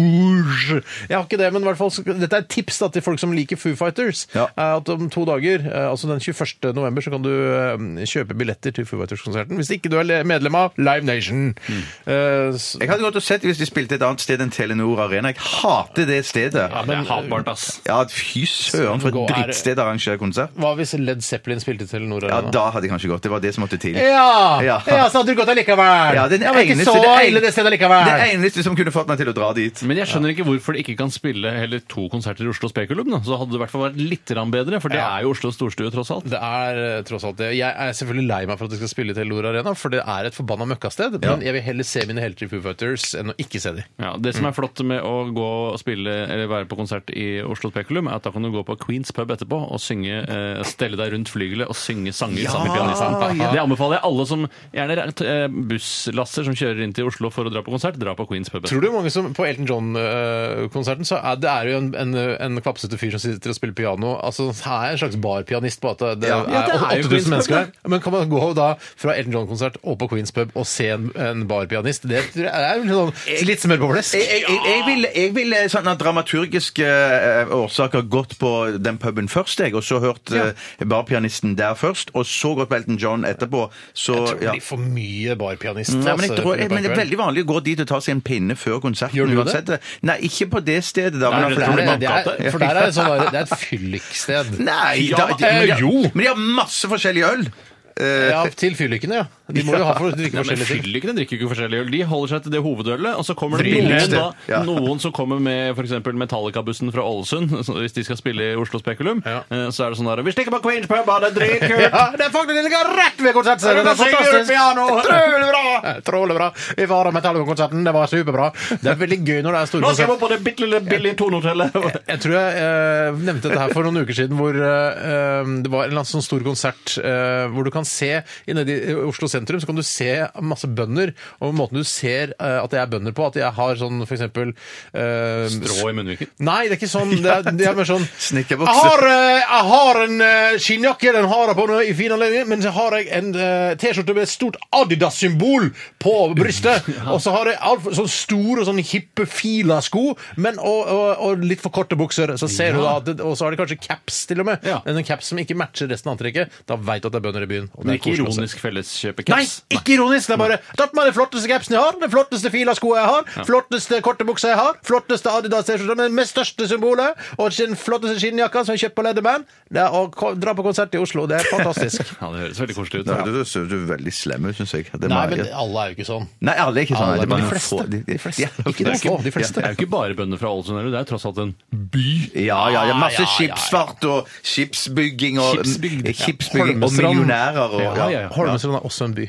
vippelosj. Jeg har ikke det, men i hvert fall, så- dette er et tips da, til folk som liker Foo Fighters.
Ja.
eh, At om to dager, eh, altså den 21. november, så kan du eh, kjøpe billetter til Foo Fighters-konserten. Hvis ikke du er le- medlem av Live Nation.
Mm.
Eh, s-
Jeg hadde gått og sett hvis de spilte et annet sted enn Telenor Arena. Jeg hater det stedet.
Ja, det er hatbart, ass.
Ja, fy søren, for et drittsted å arrangere konsert.
Hva hvis Led Zeppelin spilte til Nord
Ja,
Arena?
da hadde jeg kanskje gått. Det var det som måtte til.
Ja,
Ja.
ja, så hadde du gått allikevel.
Ja, den
det Eh, var ikke
eneste-
så
det en-
ille det stedet allikevel.
Det eneste som kunne fått meg til å dra dit.
Men jeg skjønner ikke hvorfor de ikke kan spille heller to konserter i Oslo Spekulum. Da. Så hadde det i hvert fall vært litt grann bedre, for det
Ja.
er jo Oslo storstue, tross alt.
Det er eh, tross alt det. Jeg er selvfølgelig lei meg for at de skal spille i Telenor Arena, for det er et forbanna møkkasted. Men jeg vil heller se mine helter i Foo Fighters enn å ikke se dem.
Ja, det som er
Mm.
flott med å gå og spille eller være på konsert i Oslo Spekulum, er at da kan du gå på Queens pub etterpå og synge, eh, stelle deg rundt flygelet og synge sanger sammen med pianisten. Det anbefaler jeg alle som gjerne er eh, busslasser som kjører inn til Oslo for å dra på konsert, dra på Queens pub.
Tror du mange som På Elton John-konserten så er det er jo en, en, en kvapsete fyr som sitter og spiller piano. Altså, Han er en slags barpianist på at det,
Ja.
det
Ja, det
er
er jo
8000
Queens
mennesker
Pub,
der. Men kan man gå da fra Elton John-konsert og på Queens pub og se en, en barpianist? Det tror jeg er jo litt, sånn, litt smør på flesk.
Jeg, jeg, jeg, jeg ville, jeg ville sånn av dramaturgiske eh, årsaker gått på den puben først, jeg, og så hørt eh, barpianisten der først, og så gått på Elton John etterpå. Så,
Jeg tror det
ja.
blir for mye barpianist.
Nei, men, jeg
altså,
tror, jeg,
på en
men Det er
kveld.
veldig vanlig å gå dit og ta seg en pinne før konserten.
Gjør du det?
uansett. Nei, ikke på det stedet. da.
Nei,
men-
det
Det
tror
er,
jeg
det er, for der er det sånn der, det er et fylliksted.
Nei,
Ja,
da, de, men, de,
eh, jo.
har- men de har masse forskjellig øl. Eh,
Ja, til fyllikene, ja. De må jo ha for å drikke
Nei, men
forskjellige ting.
Fyllikene drikker jo ikke forskjellig øl. De holder seg til det hovedølet. Og så kommer det
Vrien
noen,
sted,
da,
ja.
noen som kommer med f.eks. Metallica-bussen fra Ålesund, så hvis de skal spille i Oslo Spekulum.
Ja.
eh, Så er det sånn der Vi stikker på Queens pub, ha det dritkult!
Ja, det er folk som ligger rett ved konsertscenen! Det er fantastisk! Utrolig bra! Utrolig bra. Vi var av Metallum-konserten, det var superbra. Det er veldig gøy når det er store
Nå skal jeg
konserter.
bo på det bitte lille billige tonehotellet!
Jeg tror jeg eh, nevnte dette her for noen uker siden, hvor eh, eh, det var en eller annen sånn stor konsert eh, hvor du kan se i- Nede i Oslo sentrum så kan du se masse bønder, og måten du ser eh, at det er bønder på, at jeg har sånn for eksempel eh,
Strå i munnviken.
Nei, det er ikke sånn. Det er, det er mer sånn
Snekkerbukse.
Jeg har, eh, jeg har en eh, skinnjakke, den har jeg på nå i fin anledning, men så har jeg en eh, T-skjorte med et stort Adidas-symbol på brystet. Og så har jeg alt, for- sånn store, sånn hippe fila-sko, men og, og, og litt for korte bukser. Så ser du da, at det, Og så har de kanskje caps, til og med.
Ja.
En caps som ikke matcher resten av antrekket. Da veit du at det er bønder i byen. og det
Men
er
ikke
koselig å se.
ironisk
Nei,
felleskjøpecaps.
ikke ironisk. Det er bare tatt med den flotteste capsen jeg har, den flotteste fila skoa jeg har, flotteste korte buksa jeg har, flotteste Adidas-T-skjorta med det største symbolet, og den flotteste skinnjakka som jeg kjøpte på Leatherman. Det er å ko- dra på konsert i Oslo, det er fantastisk.
Ja, det høres veldig koselig ut.
da høres du du er veldig slem ut, syns jeg. Det er
Nei,
Maria.
men alle er jo ikke sånn.
Nei, alle er ikke sånn.
Alle,
det er bare
men de
noen
fleste.
få-
De fleste.
Ja,
Ikke noen få, de fleste.
Det er jo ikke bare bønder fra Ålesund, eller? det er tross alt en by.
Ja, ja, ja, masse
Ja, ja, ja.
skipsfart og skipsbygging og,
Skipsbygd.
eh, skipsbygging og
Holmestrand.
millionærer. Og,
Ja, ja, ja.
Holmestrand er også en by.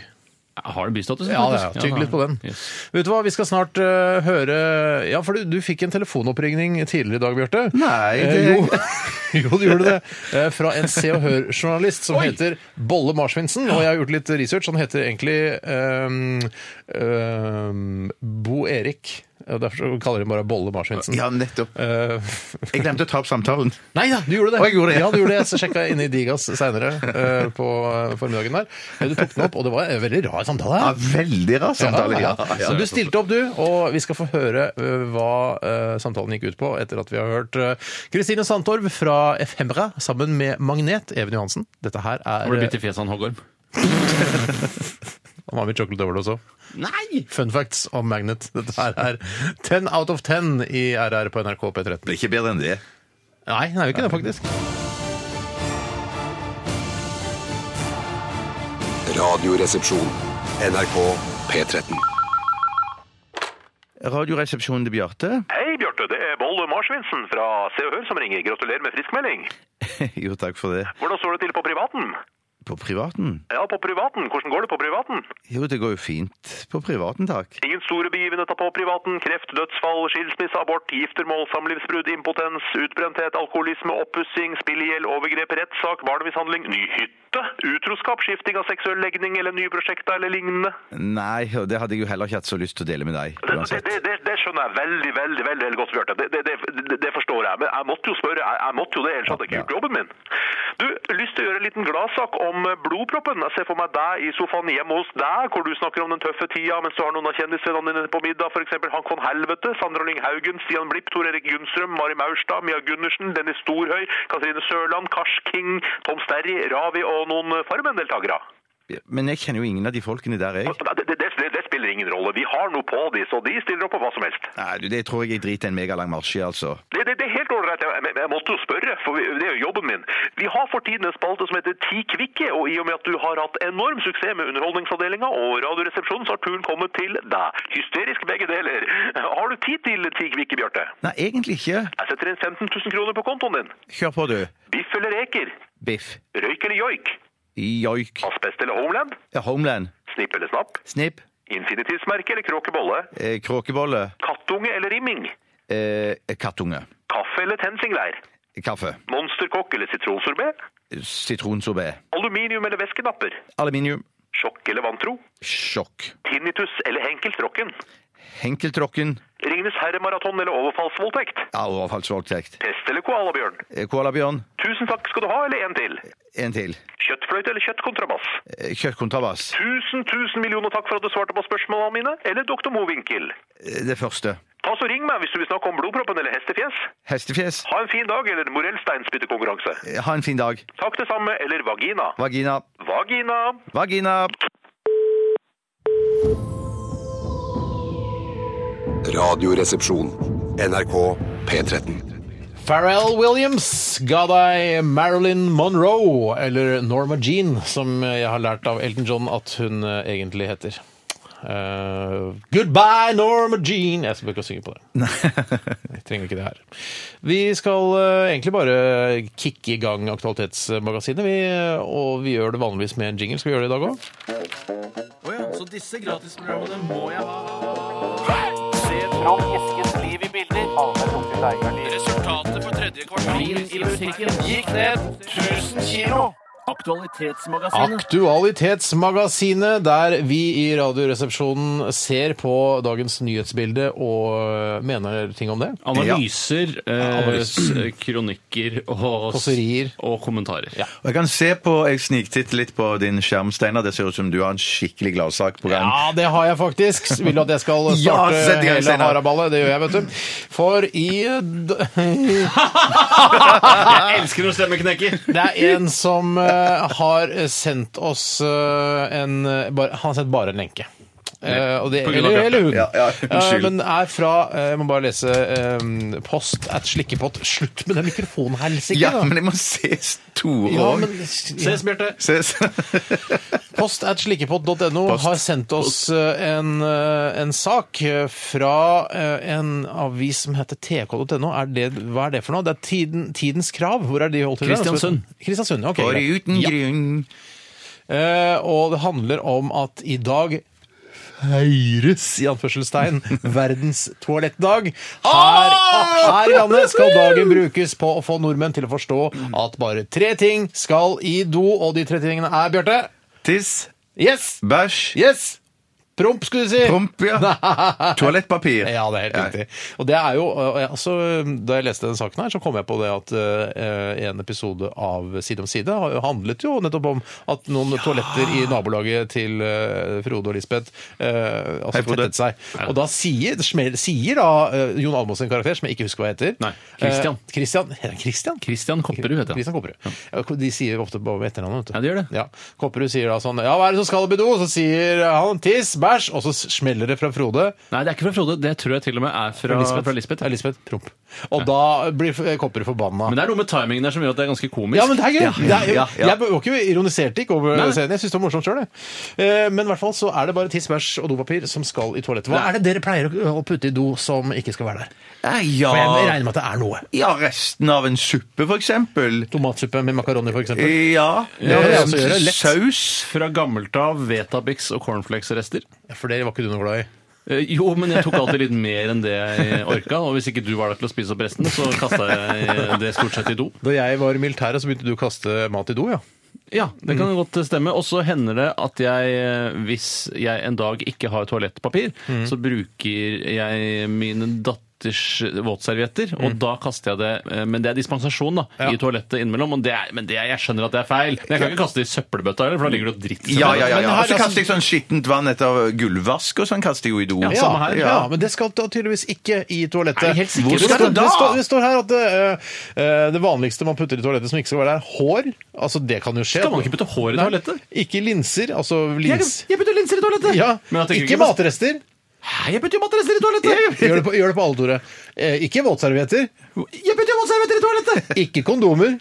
Har det bystatus?
Ja, ja,
faktisk?
ja. tygg litt på den.
Yes.
Vet du hva, vi skal snart eh, høre Ja, for du, du fikk en telefonoppringning tidligere i dag, Bjarte.
Nei,
Eh,
det-
jo. jo, du gjorde det. Eh, fra en Se og Hør-journalist som heter Bolle Marsvinsen. Og jeg har gjort litt research. Han heter egentlig ehm, ehm, Bo Erik. Og derfor så kaller de bare Bolle Marsvinsen.
Ja, nettopp.
Eh,
Jeg glemte å ta opp samtalen.
Nei da, du gjorde det.
Å, jeg gjorde det,
ja.
ja.
du gjorde det. Jeg sjekka inne i Digas seinere på eh, formiddagen der. Du tok den opp, og det var en veldig rar samtale.
Ja, veldig rar samtale. Ja, ja,
Så du stilte opp, du, og vi skal få høre eh, hva eh, samtalen gikk ut på etter at vi har hørt eh, Kristine Sandtorv fra Efemra sammen med Magnet, Even Johansen. Dette her er
Har du
eh,
bitt i fjeset av en hoggorm?
Han var med chocolate overdose også.
Nei!
Fun facts om Magnet. Dette her er 10 out of 10 i RR på NRK P13.
Det er ikke bedre enn det.
Nei, den er jo ikke det, faktisk.
Radioresepsjon. NRK P13.
Radioresepsjonen til Bjarte.
Hei, Bjarte. Det er Bolle Marsvinsen fra Se og Hør som ringer. Gratulerer med friskmelding.
Jo, takk for det.
Hvordan står det til på privaten?
På privaten?
Ja, på privaten. Hvordan går det på privaten?
Jo, det går jo fint på privaten, takk.
Ingen store begivenheter på privaten. Kreft, dødsfall, skilsmisse, abort, giftermål, samlivsbrudd, impotens, utbrenthet, alkoholisme, oppussing, spill i hjel, overgrep, rettssak, barnemishandling, ny hytte, utroskap, skifting av seksuell legning eller nye prosjekter eller lignende.
Nei, og det hadde jeg jo heller ikke hatt så lyst til å dele med deg,
Det, det,
uansett.
det, det, det skjønner jeg veldig, veldig veldig, veldig godt, Bjarte. Det, det, det, det- det forstår jeg. Men jeg måtte jo spørre. Jeg, jeg måtte jo det, ellers hadde jeg ikke gjort jobben min. Du, lyst til å gjøre en liten gladsak om blodproppen. Jeg ser for meg deg i sofaen hjemme hos deg, hvor du snakker om den tøffe tida mens du har noen av kjendisvennene dine på middag, f.eks. Hank von Helvete, Sandra Lyng Haugen, Stian Blipp, Tor Erik Gunnstrøm, Mari Maurstad, Mia Gundersen, Dennis Storhøy, Katrine Sørland, Kars King, Tom Sterry, Ravi og noen Farmen-deltakere.
Men jeg kjenner jo ingen av de folkene der, jeg.
Det, det, det, det spiller ingen rolle. Vi har noe på de, så de stiller opp på hva som helst.
Nei, du, det tror jeg jeg driter en megalang marsj i, altså.
Det, det, det er helt ålreit. Jeg, jeg, jeg måtte jo spørre, for vi- det er jo jobben min. Vi har for tiden en spalte som heter Ti kvikke, og i og med at du har hatt enorm suksess med Underholdningsavdelinga og Radioresepsjonen, så har turen kommet til deg. Hysterisk begge deler. Har du tid til ti kvikke, Bjarte?
Nei, egentlig ikke.
Jeg setter inn 15 000 kroner på kontoen din.
Kjør på, du.
Biff eller reker?
Biff.
Røyk eller joik?
Joik.
Asbest eller homeland?
Ja, Homeland.
Snipp eller snapp?
Snipp.
Infinitivsmerke eller kråkebolle?
Eh, kråkebolle.
Kattunge eller rimming?
Eh, kattunge.
Kaffe eller tensingleir?
Kaffe.
Monsterkokk eller sitronsorbet?
Sitronsorbet.
Aluminium eller væskenapper?
Aluminium.
Sjokk eller vantro?
Sjokk.
Tinnitus eller Henkeltrokken?
Henkeltråkken.
Ringnes herremaraton eller overfallsvoldtekt?
Ja, Overfallsvoldtekt.
Pest eller koalabjørn?
Eh, Koalabjørn.
Tusen takk skal du ha, eller en til?
En til.
Kjøttfløyte eller kjøttkontrabass?
Eh, Kjøttkontrabass.
Tusen, tusen millioner takk for at du svarte på spørsmålene mine, eller Dr. Mowinckel?
Eh, Det første.
Ta så ring meg hvis du vil snakke om blodproppen eller hestefjes.
Hestefjes.
Ha en fin dag, eller morellsteinspyttekonkurranse.
Eh, Ha en fin dag.
Takk det samme, eller vagina.
Vagina.
Vagina!
Vagina.
Radioresepsjon. NRK P13.
Pharrell Williams ga deg Marilyn Monroe, eller Norma Jean, som jeg har lært av Elton John at hun eh, egentlig heter. Eh, goodbye, Norma Jean! Jeg skal ikke synge på det. Jeg trenger ikke det her. Vi skal eh, egentlig bare kicke i gang Aktualitetsmagasinet, vi, eh, og vi gjør det vanligvis med en jingle. Skal vi gjøre det i dag òg? Aktualitetsmagasinet, der vi i Radioresepsjonen ser på dagens nyhetsbilde og eh, mener ting om det.
Analyser, eh, s-
Analyser.
kronikker og,
Kåserier.
og kommentarer.
Og Jeg kan se på, jeg sniktitt litt på din skjerm, Steinar. Det ser ut som du har en skikkelig gladsak på gang.
Ja, det har jeg faktisk. Vil du at jeg skal starte
Ja, sett i gang,
hele
Steinar.
haraballet? Det gjør jeg, vet du. For i
Jeg elsker når stemmen knekker!
Det er en som eh, har sendt oss eh, en bare, Han har sendt bare en lenke. Eh, og det,
På grunn av
eller, eller hun.
Ja, ja,
Eh,
unnskyld.
men er fra eh, Jeg må bare lese eh, post at slikkepott. Slutt med den mikrofonen her, Sikke.
Ja,
da.
men jeg må se store
ja,
òg.
men
Ses, Bjarte!
Ses.
Post at slikkepott.no
Post.
har sendt oss eh, en, eh, en sak eh, fra eh, en avis som heter tk.no. Er det, hva er det for noe? Det er tiden, Tidens Krav. Hvor er de holdt til?
Kristiansund.
Kristiansund, ok.
Bare
greit.
uten
Ja.
grunn.
Eh, og det handler om at i dag feires i anførselstegn verdens toalettdag. Her, ah, her i landet skal dagen brukes på å få nordmenn til å forstå at bare tre ting skal i do, og de tre tingene er, Bjarte
Tiss,
Yes!
bæsj,
Yes! Promp, skulle du si.
promp, ja. Toalettpapir.
Ja, det er helt riktig. Og det er jo, og jeg- altså, Da jeg leste den saken, her, så kom jeg på det at eh, en episode av Side om side har jo handlet jo nettopp om at noen toaletter i nabolaget til eh, Frode og Lisbeth eh, altså,
Hei, Frode.
tettet seg. Og da sier, smel- sier da eh, Jon Almaas en karakter, som jeg ikke husker hva heter
Nei, Christian.
Eh, Christian. Heter han Christian?
Christian Kopperud heter han.
Christian Kopperud. Ja. De sier ofte bare med etternavnet. vet du.
Ja, de gjør det.
Ja. Kopperud sier da sånn Ja, hva er det som skal opp i do? Så sier han tiss, bæsj, og så smeller det fra Frode.
Nei, det er ikke fra Frode. Det tror jeg til og med er fra, fra Lisbeth.
Ja, Lisbeth. Promp. Og da blir eh, kopper forbanna.
Men det er noe med timingen der som gjør at det er ganske komisk.
Ja, men det er gøy! Det er,
ja, ja.
Jeg var ikke ironiserte ikke over
Nei.
scenen. Jeg syntes det var morsomt sjøl, jeg. Eh, Men i hvert fall så er det bare tiss, bæsj og dopapir som skal i toalettet. Hva
Nei.
er det dere pleier å- å putte i do som ikke skal være der?
Eh,
For
Ah.
jeg
Ja,
regner med at det er noe.
ja, resten av en suppe, for eksempel.
Tomatsuppe med makaroni, f.eks.
Ja.
Ja, det er altså å gjøre lett.
Saus.
Fra gammelt av Vetabix og cornflakes-rester.
For det var ikke du noe glad i.
Eh, Jo, men jeg tok alltid litt mer enn det jeg orka. Og hvis ikke du var der til å spise opp resten, så kasta jeg det stort sett i do.
Da jeg var i militæret, så begynte du å kaste mat i do, ja.
Ja, det kan godt stemme. Og så hender det at jeg, eh, hvis jeg en dag ikke har toalettpapir, så bruker jeg min datters våtservietter, og da kaster jeg det eh, Men det er dispensasjon da, i toalettet innimellom, og det er, men det er, jeg skjønner at det er feil. Men jeg kan ikke kaste det i søppelbøtta heller, for da ligger det jo dritt i
Ja, ja, ja.
Men
ja.
her,
Og så
altså-
kaster jeg sånn skittent vann etter gulvvask, og sånn kaster jeg jo i do.
Ja, samme her.
ja. men det skal da tydeligvis ikke i toalettet.
Er du helt sikker?
Hvor skal
det,
det da?
det, står, det står her at det, eh, det vanligste man putter i toalettet som ikke skal være der, er hår. Altså, det kan jo skje.
Skal man ikke putte hår i
Nei,
toalettet?
Ikke linser. Altså lins.
putter linser i toalettet!
Ja,
Men jeg tenker
ikke
ikke på-
matrester.
Nei, jeg putter jo matrester i toalettet!
Gjør det på, gjør det på alle, Tore. Eh, ikke våtservietter.
Jeg putter jo våtservietter i toalettet!
Ikke kondomer.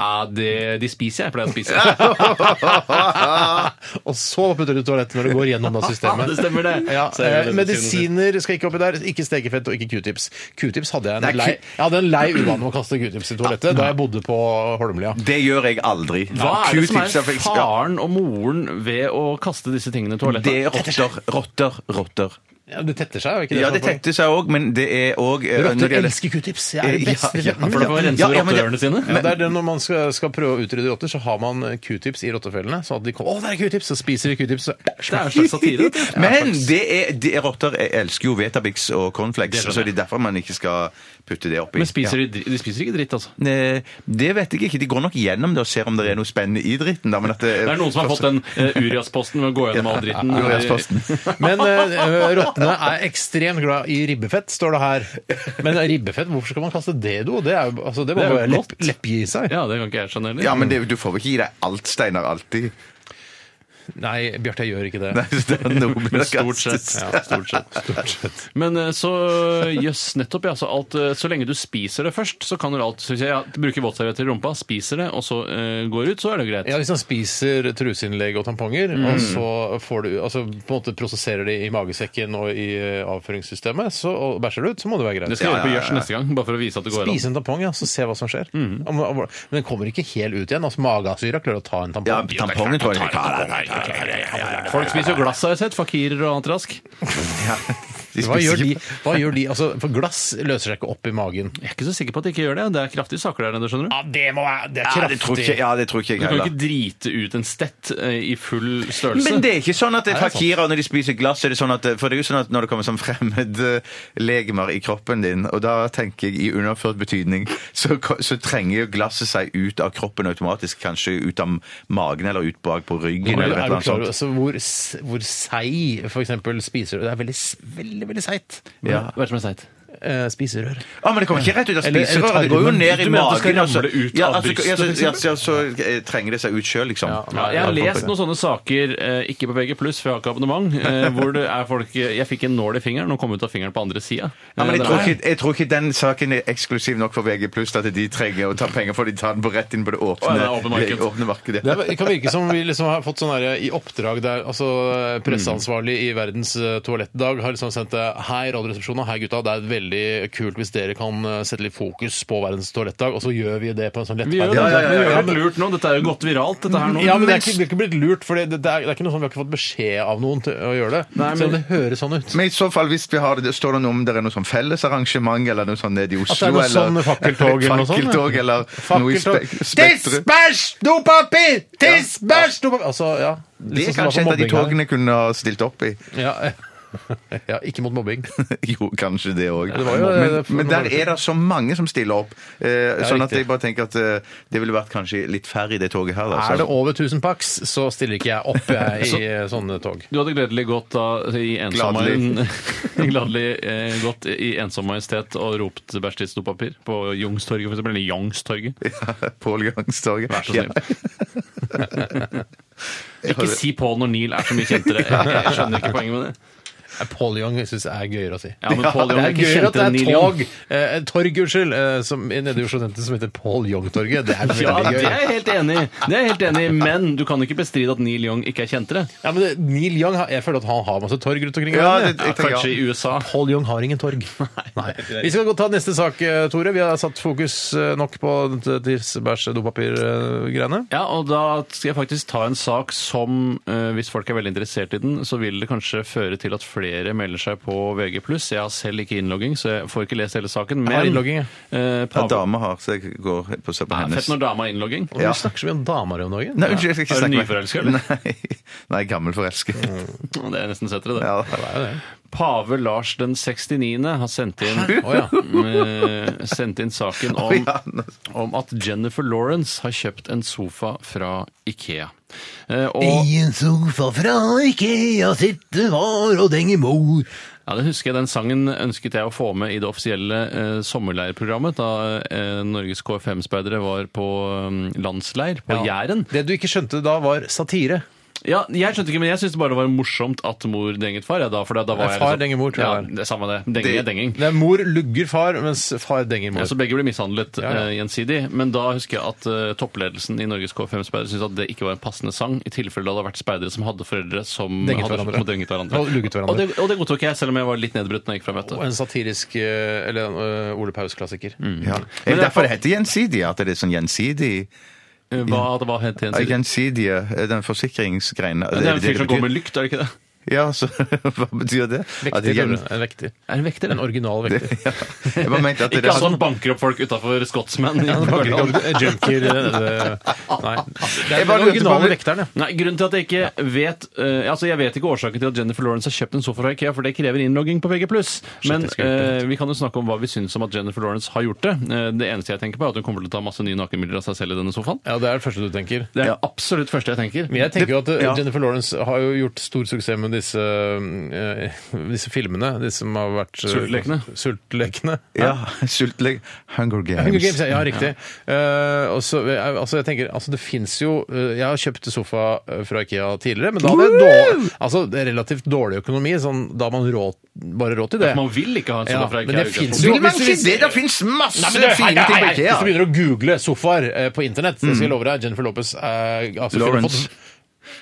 Ja, det, de spiser jeg, jeg pleier å spise.
Og så putter du i toalettet når du går gjennom da systemet.
Det stemmer det.
Ja,
Så er
eh,
det
medisiner skal ikke oppi der. Ikke stekefett og ikke q-tips. Q-tips hadde jeg
Nei,
en lei
Q-
Jeg hadde en lei uvane med å kaste q-tips i toalettet da jeg bodde på Holmlia.
Det gjør jeg aldri.
Hva er det som
Q-tips
er
faktisk- ja.
faren og moren ved å kaste disse tingene i toalettet?
Det er rotter, rotter, rotter.
Ja, det tetter seg, er ikke det?
Ja,
som er
det
poenget?
tetter seg òg, men det er òg eh, når
Rotter
det gjelder- Eh,
elsker q-tips. Jeg er det
Ja,
beste.
ja,
For da får man rense
Ja, ja, men det-
rotteørene sine.
Ja, det er det Når man skal, skal prøve å utrydde rotter, så har man q-tips i rottefellene. Så at de kommer, å, der er q-tips, så spiser de q-tips. så-
Det er en slags satire. dette.
Men det er, det er rotter jeg elsker jo Vetabix og
Det
cornflakes,
skjønner
så det er derfor man ikke skal putte det oppi.
Men spiser de, dri- de spiser ikke dritt, altså.
Eh, Det vet jeg ikke. De går nok gjennom det og ser om det er noe spennende i dritten. Da, men at det,
Det er noen som har fått den eh, Urias-posten ved å gå gjennom all dritten. eh,
Urias-posten.
Men eh, rottene er ekstremt glad i ribbefett, står det her. Men ribbefett, hvorfor skal man kaste det i do? Det, er, jo- altså, det må
Det er jo
bare lepp,
godt.
leppgi i seg.
Ja, det kan ikke jeg skjønne heller.
Ja, men det, du får vel ikke gi deg alt, Steinar, alltid.
Nei, Bjarte, jeg gjør ikke det.
Nei, det er noe med
Men
det
stort sett.
kastes.
Ja, stort sett. Men eh, så jøss, nettopp, ja. Så, alt, eh, så lenge du spiser det først, så kan du alt så Hvis jeg ja, bruker våtservietter i rumpa, spiser det, og så eh, går ut, så er det greit.
Ja, Hvis han spiser truseinnlegg og tamponger, og så får du, altså, på en måte prosesserer de i magesekken og i eh, avføringssystemet, så, og bæsjer du ut, så må det være greit.
Det skal jeg gjøre på gjørs neste gang, bare for å vise at det går an.
Spise en tampong, ja, så se hva som skjer. Om- om- Men den kommer ikke helt ut igjen. altså Magesyra klarer å ta en
Ja,
tampong.
tampongen tror jeg ikke.
Folk spiser jo glass, har jeg sett. Fakirer og annet rask.
De
Hva gjør
spiser
de?
ikke
Hva gjør de? Altså, for glass løser seg ikke opp i magen.
Jeg er ikke så sikker på at de ikke gjør det. Det er kraftige saker der nede, skjønner du.
Ja, det må være Det er
ja, det tror ikke, ja, det tror ikke jeg
Du kan jo
heller.
ikke drite ut en stett eh, i full størrelse.
Men det er ikke sånn at det er
Nei, det er
fakirer når de spiser glass. Er det sånn at, for det er jo sånn at når det kommer sånn fremmedlegemer i kroppen din, og da tenker jeg i underført betydning, så, ko- så trenger jo glasset seg ut av kroppen automatisk. Kanskje ut av magen eller ut bak på ryggen.
Er
eller
du
et
klar
eller annet
over
sånt.
altså, hvor, s- hvor seig for eksempel spiserør Det er veldig, s- veldig veldig seigt.
ja. Hva er det som er seigt?
Eh, spiserør.
Ja, Ah, men det kommer ikke rett ut av
Eller- eller
spiserøret. Det går jo
tarmen.
ned i
Du mener at det skal
magen. altså.
ramle ut
ja,
av
altså, ja, så,
brystet, for
ja, så, så eh, trenger det seg ut sjøl, liksom.
Ja, jeg har lest noen sånne saker, eh, ikke på VG+, for jeg har ikke abonnement, eh, hvor det er folk eh, Jeg fikk en nål i fingeren og kom ut av fingeren på andre Eh, sida.
Ja, men jeg tror, ikke, jeg tror ikke den saken er eksklusiv nok for VG+, at de trenger å ta penger for de tar den på rett inn på det
Å,
åpne,
ja, det er åpne marked.
åpne markedet.
Det, er, det kan virke som vi liksom har fått sånn her i oppdrag der altså presseansvarlig i Verdens eh, toalettdag har liksom sendt eh, Hei, Radioresepsjonen. Hei, gutta. Det er veldig kult hvis dere kan eh, sette litt fokus på Verdens toalettdag, og så gjør vi det på en sånn
Vi gjør
lettbeint
jo
Ja, ja,
det.
ja,
Vi
ja,
gjør
ja,
det litt lurt nå. Dette er jo godt viralt, dette her nå.
Ja, men det er
mens-
ikke, det er ikke blitt lurt, for det, det, er, det er ikke noe sånn, vi har ikke fått beskjed av noen til å gjøre det.
Nei,
Selv om det
men-
høres sånn ut.
Men i så fall, hvis vi har det, står det noe om det er noe sånn fellesarrangement eller noe sånn nede i Oslo?
At det er noe sånn fakkeltog eller noe sånt, ja.
Fakkeltog eller noe i
Fakkeltog.
spek
Tiss,
Spektrum.
bæsj, dopapir! Tiss,
Ja.
bæsj, dopapir! Altså, ja.
Det er
Liksom som
kanskje et av de
var på mobbing
togene kunne ha stilt opp i.
her. Ja. ja, ikke mot mobbing.
Jo, kanskje det òg.
det var jo-
men,
det-
men der er det så mange som stiller opp. Eh, sånn at
riktig.
jeg bare tenker at eh, det ville vært kanskje litt færre i det toget her. Da,
Er det over 1000 pax, så stiller ikke jeg opp jeg, i sånne tog.
Du hadde gledelig gått da i ensom
Gladelig.
Gladelig eh, gått i ensom majestet og ropt bæsj, tiss, dopapir på Youngstorget, for eksempel. Eller Youngstorget.
Pålgangstorget.
Vær så snill. Ikke si Paul når Neil er så mye kjentere. Jeg, jeg skjønner ikke poenget med det.
Paul Young jeg synes er gøyere å si.
Ja, men Paul Young
det
er
er
ikke
gøyere at det
kjentere
er
enn Neil
tog,
Young.
eh, torg, unnskyld, eh, som, nede i Oslo sentrum som heter Paul Young-torget. Det er veldig
Ja, det
gøy.
er jeg helt enig i. Det er jeg helt enig i, Men du kan ikke bestride at Neil Young ikke er kjentere.
Ja, men det, Neil Young, har- jeg føler at han har masse torg rundt omkring. i
Ja,
verden, jeg.
det- jeg tenker,
Kanskje i USA.
Paul Young har ingen torg. Nei. Vi skal gå ta neste sak, eh, Tore. Vi har satt fokus eh, nok på d- disse bæsj- og dopapir-greiene.
Ja, og da skal jeg faktisk ta en sak som, eh, hvis folk er veldig interessert i den, så vil det kanskje føre til at flere melder seg på VG+. Jeg har selv ikke innlogging, så jeg får ikke lest hele saken. Men
har innlogging, jeg.
Eh,
Ja,
Pavel-
dame har, så jeg går på å se på
Nei,
hennes.
Fett når dama har innlogging.
Vi snakker så mye om damer om dagen.
Nei, unnskyld, jeg skal ikke
Er du
snakke med-
nyforelsket, eller?
Nei, Nei gammel forelsket.
Det er nesten settere, det.
Ja.
Pave Lars den 69. har sendt inn,
Å, ja.
eh, sendt inn saken om,
Å, ja.
om at Jennifer Lawrence har kjøpt en sofa fra Ikea. Eh, og
en sofa fra Ikea sitter far og denger mor.
Ja, det husker jeg. Den sangen ønsket jeg å få med i det offisielle eh, sommerleirprogrammet da eh, Norges KFM-speidere var på eh, landsleir på Jæren.
Det du ikke skjønte da, var satire.
Ja, jeg skjønte ikke, men jeg syntes det bare var morsomt at mor denget far. Ja, da, for da, da
Nei,
var jeg liksom-
far denger mor, tror jeg
ja,
det var.
det. er Samme det. Denging er denging.
Det er mor lugger far, mens far denger mor.
Ja, så begge ble mishandlet
Ja, ja.
eh, gjensidig. Men da husker jeg at eh, toppledelsen i Norges KFM-speidere syntes at det ikke var en passende sang, i tilfelle det hadde vært speidere som hadde foreldre som
Denget
hadde
hverandre.
som denget hverandre.
Og lugget hverandre.
Og det, og det godtok jeg, selv om jeg var litt nedbrutt når jeg gikk fra møtet.
Og en satirisk eh, Eller en eh, Ole Paus-klassiker.
Ja. Er det derfor det heter gjensidige? At det er sånn gjensidig?
Eh, Hva, det var helt
Ja,
gjensidig.
Gjensidige, eh, den forsikringsgreien
Ja, Det er en fyr som går med
betyr?
lykt, er det ikke det?
Ja, så hva betyr det? At
Vekter,
det gjen-
Tore. En vekter.
Er det en vekter?
En original vekter.
Ja. Jeg bare mente at det
Ikke
er
at han
sånn
banker opp folk utafor Scotsman.
Ja, det var ikke om- eh, Junker eh, det- Nei. Det er den
Jeg bare lurte på om
originale
vi-
vekteren, ja.
Nei, grunnen til at Jeg ikke vet eh, altså jeg vet ikke årsaken til at Jennifer Lawrence har kjøpt en sofa fra Ikea, for det krever innlogging på VG+. Men
jeg skal gjøre det.
eh, vi kan jo snakke om hva vi syns om at Jennifer Lawrence har gjort det. Eh, det eneste jeg tenker på, er at hun kommer til å ta masse nye nakenbilder av seg selv i denne sofaen.
Ja, det er det første du tenker.
Det er absolutt første jeg tenker.
Men jeg tenker jo at eh,
ja.
Jennifer Lawrence har jo gjort stor suksess med disse, eh, disse filmene. De som har vært eh,
Sultlekene.
Sultlekene.
Ja, sultleg. Hunger Games.
Hunger Games, ja, ja riktig. Eh, og så, eh, altså, jeg tenker, altså, det fins jo eh, Jeg har kjøpt sofa eh, fra Ikea tidligere, men da hadde jeg dårlig, altså, det er relativt dårlig økonomi. Sånn, da har man råd, bare råd til det.
Man vil ikke ha en sofa
Ja,
fra
men
Ikea.
det
i
finnes
utgangspunktet.
jo-
Vil man
Hvis du-
ikke det? Det fins masse
Nei, men du, hei,
fine
hei,
ting på
hei. Hvis du
IKEA.
begynner å google sofaer eh, på internett, så skal jeg love deg Jennifer Lopez eh, altså, hun har
Lawrence.
fått-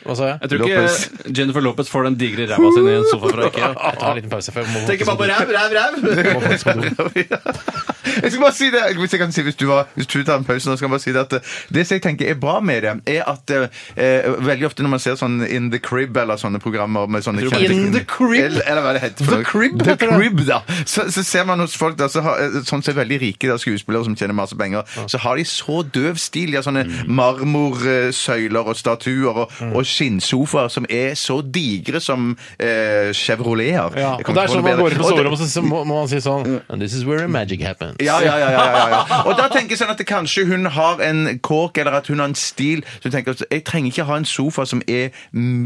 Hva sa jeg?
Jeg tror ikke
Lopez.
Jennifer Lopez får den digre ræva sin i en sofa fra Ikea.
Jeg tar en liten pause. For jeg må
Tenker bare på ræv, ræv, ræv!
må faktisk på do.
Jeg skal bare si det, hvis jeg kan si, hvis du, var, hvis du tar en pause nå, skal jeg bare si det at eh, det som jeg tenker er bra med det, er at eh, eh, veldig ofte når man ser sånn In the Crib eller sånne programmer med sånne
tror
kjente-
In the Crib?
Eller, eller hva det heter. for
The
noe.
Crib
the
heter det.
crib da. Så, så ser man hos folk da, så har, eh, sånn som er veldig rike da, skuespillere som tjener masse penger, så har de så døv stil. De har sånne marmorsøyler og statuer og,
Mm.
og skinnsofaer som er så digre som eh, Chevroleter.
Ja,
Jeg
og
kommer
der
ikke på
som
noe
man
bedre.
går inn på
Og det-
soverommet, så, så må, må man si sånn And this is where magic happens.
ja, ja, ja, ja, ja, ja. Og da tenker jeg sånn at det kanskje hun har en kåk, eller at hun har en stil som tenker at jeg trenger ikke ha en sofa som er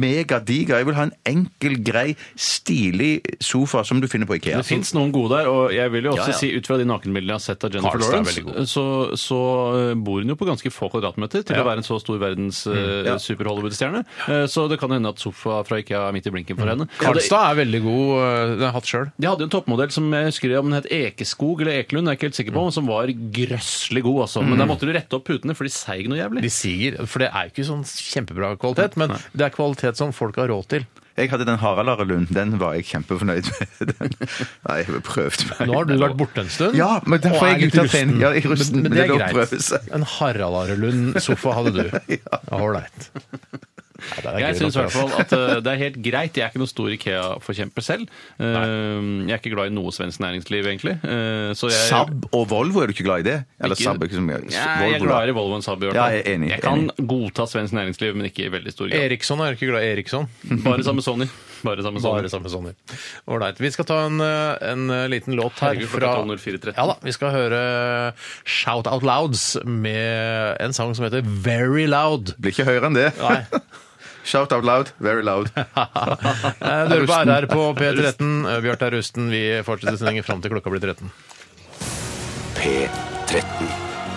megadiger. Jeg vil ha en enkel, grei, stilig sofa som du finner på Ikea.
Det fins noen gode der, og jeg vil jo også
Ja, ja.
si ut fra de nakenbildene jeg har sett av Jennifer
Karlstad er veldig
Lawrence, så, så eh, bor hun jo på ganske få kvadratmeter til å være en så stor verdens eh, super Hollywood-stjerne. Eh, Så det kan hende at sofa fra Ikea er midt i blinken for henne. Og det-
Karlstad er veldig god. øh, Den har jeg hatt sjøl.
De hadde jo en toppmodell som jeg husker om den het Ekeskog eller Ekelund, jeg er ikke helt sikker på, som var grøsselig god, altså. Men der måtte du rette opp putene, for de seig noe jævlig.
De siger. For det er jo ikke sånn kjempebra kvalitet, men det er kvalitet som folk har råd til.
Jeg hadde den Harald Lund. Den var jeg kjempefornøyd med. Den. Nei, jeg prøvde meg.
Nå har du vært borte en stund.
Ja, men
og
derfor er jeg
litt
ute av trening. Ja, jeg er rusten,
men, men det er
lov å prøve
greit.
seg.
En Harald Arelund-sofa hadde du. Ålreit. Ja, det altså. er
Jeg
gøy
syns i
nok,
hvert fall at eh, det er helt greit. Jeg er ikke noen stor Ikea-forkjemper selv. Eh, jeg er ikke glad i noe svensk næringsliv, egentlig. Eh, så jeg,
Saab og Volvo, er du ikke glad i det? Eller
Ikke-
Saab er ikke så mye.
Nei, jeg er
Volvo, da.
glad i Volvo og Saab i hvert
Ja,
fall.
jeg er enig,
jeg kan
enig.
godta svensk næringsliv, men ikke i veldig stor
altså.
grad.
Eriksson er ikke glad i Eriksson.
Bare sammen med Sony. Bare sammen med Sony.
Bare samme Sonny. Ålreit. Vi skal ta en, eh, en eh, liten låt her
Herregud, klokka
fra
12.04.13.
Ja da, Vi skal høre Shout Out Louds med en sang som heter Very Loud.
Blir ikke høyere enn det.
Nei.
Shout out loud. Very loud.
Eh, Du hører på RR på P13. Eh, Bjarte er rusten. Vi fortsetter sendingen fram til klokka blir 13.
P13.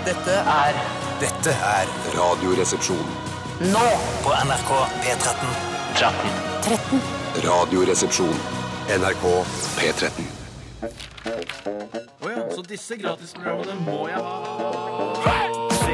Dette er Dette er
Radioresepsjon.
Nå på NRK P13. 13.
Radioresepsjon. NRK P13.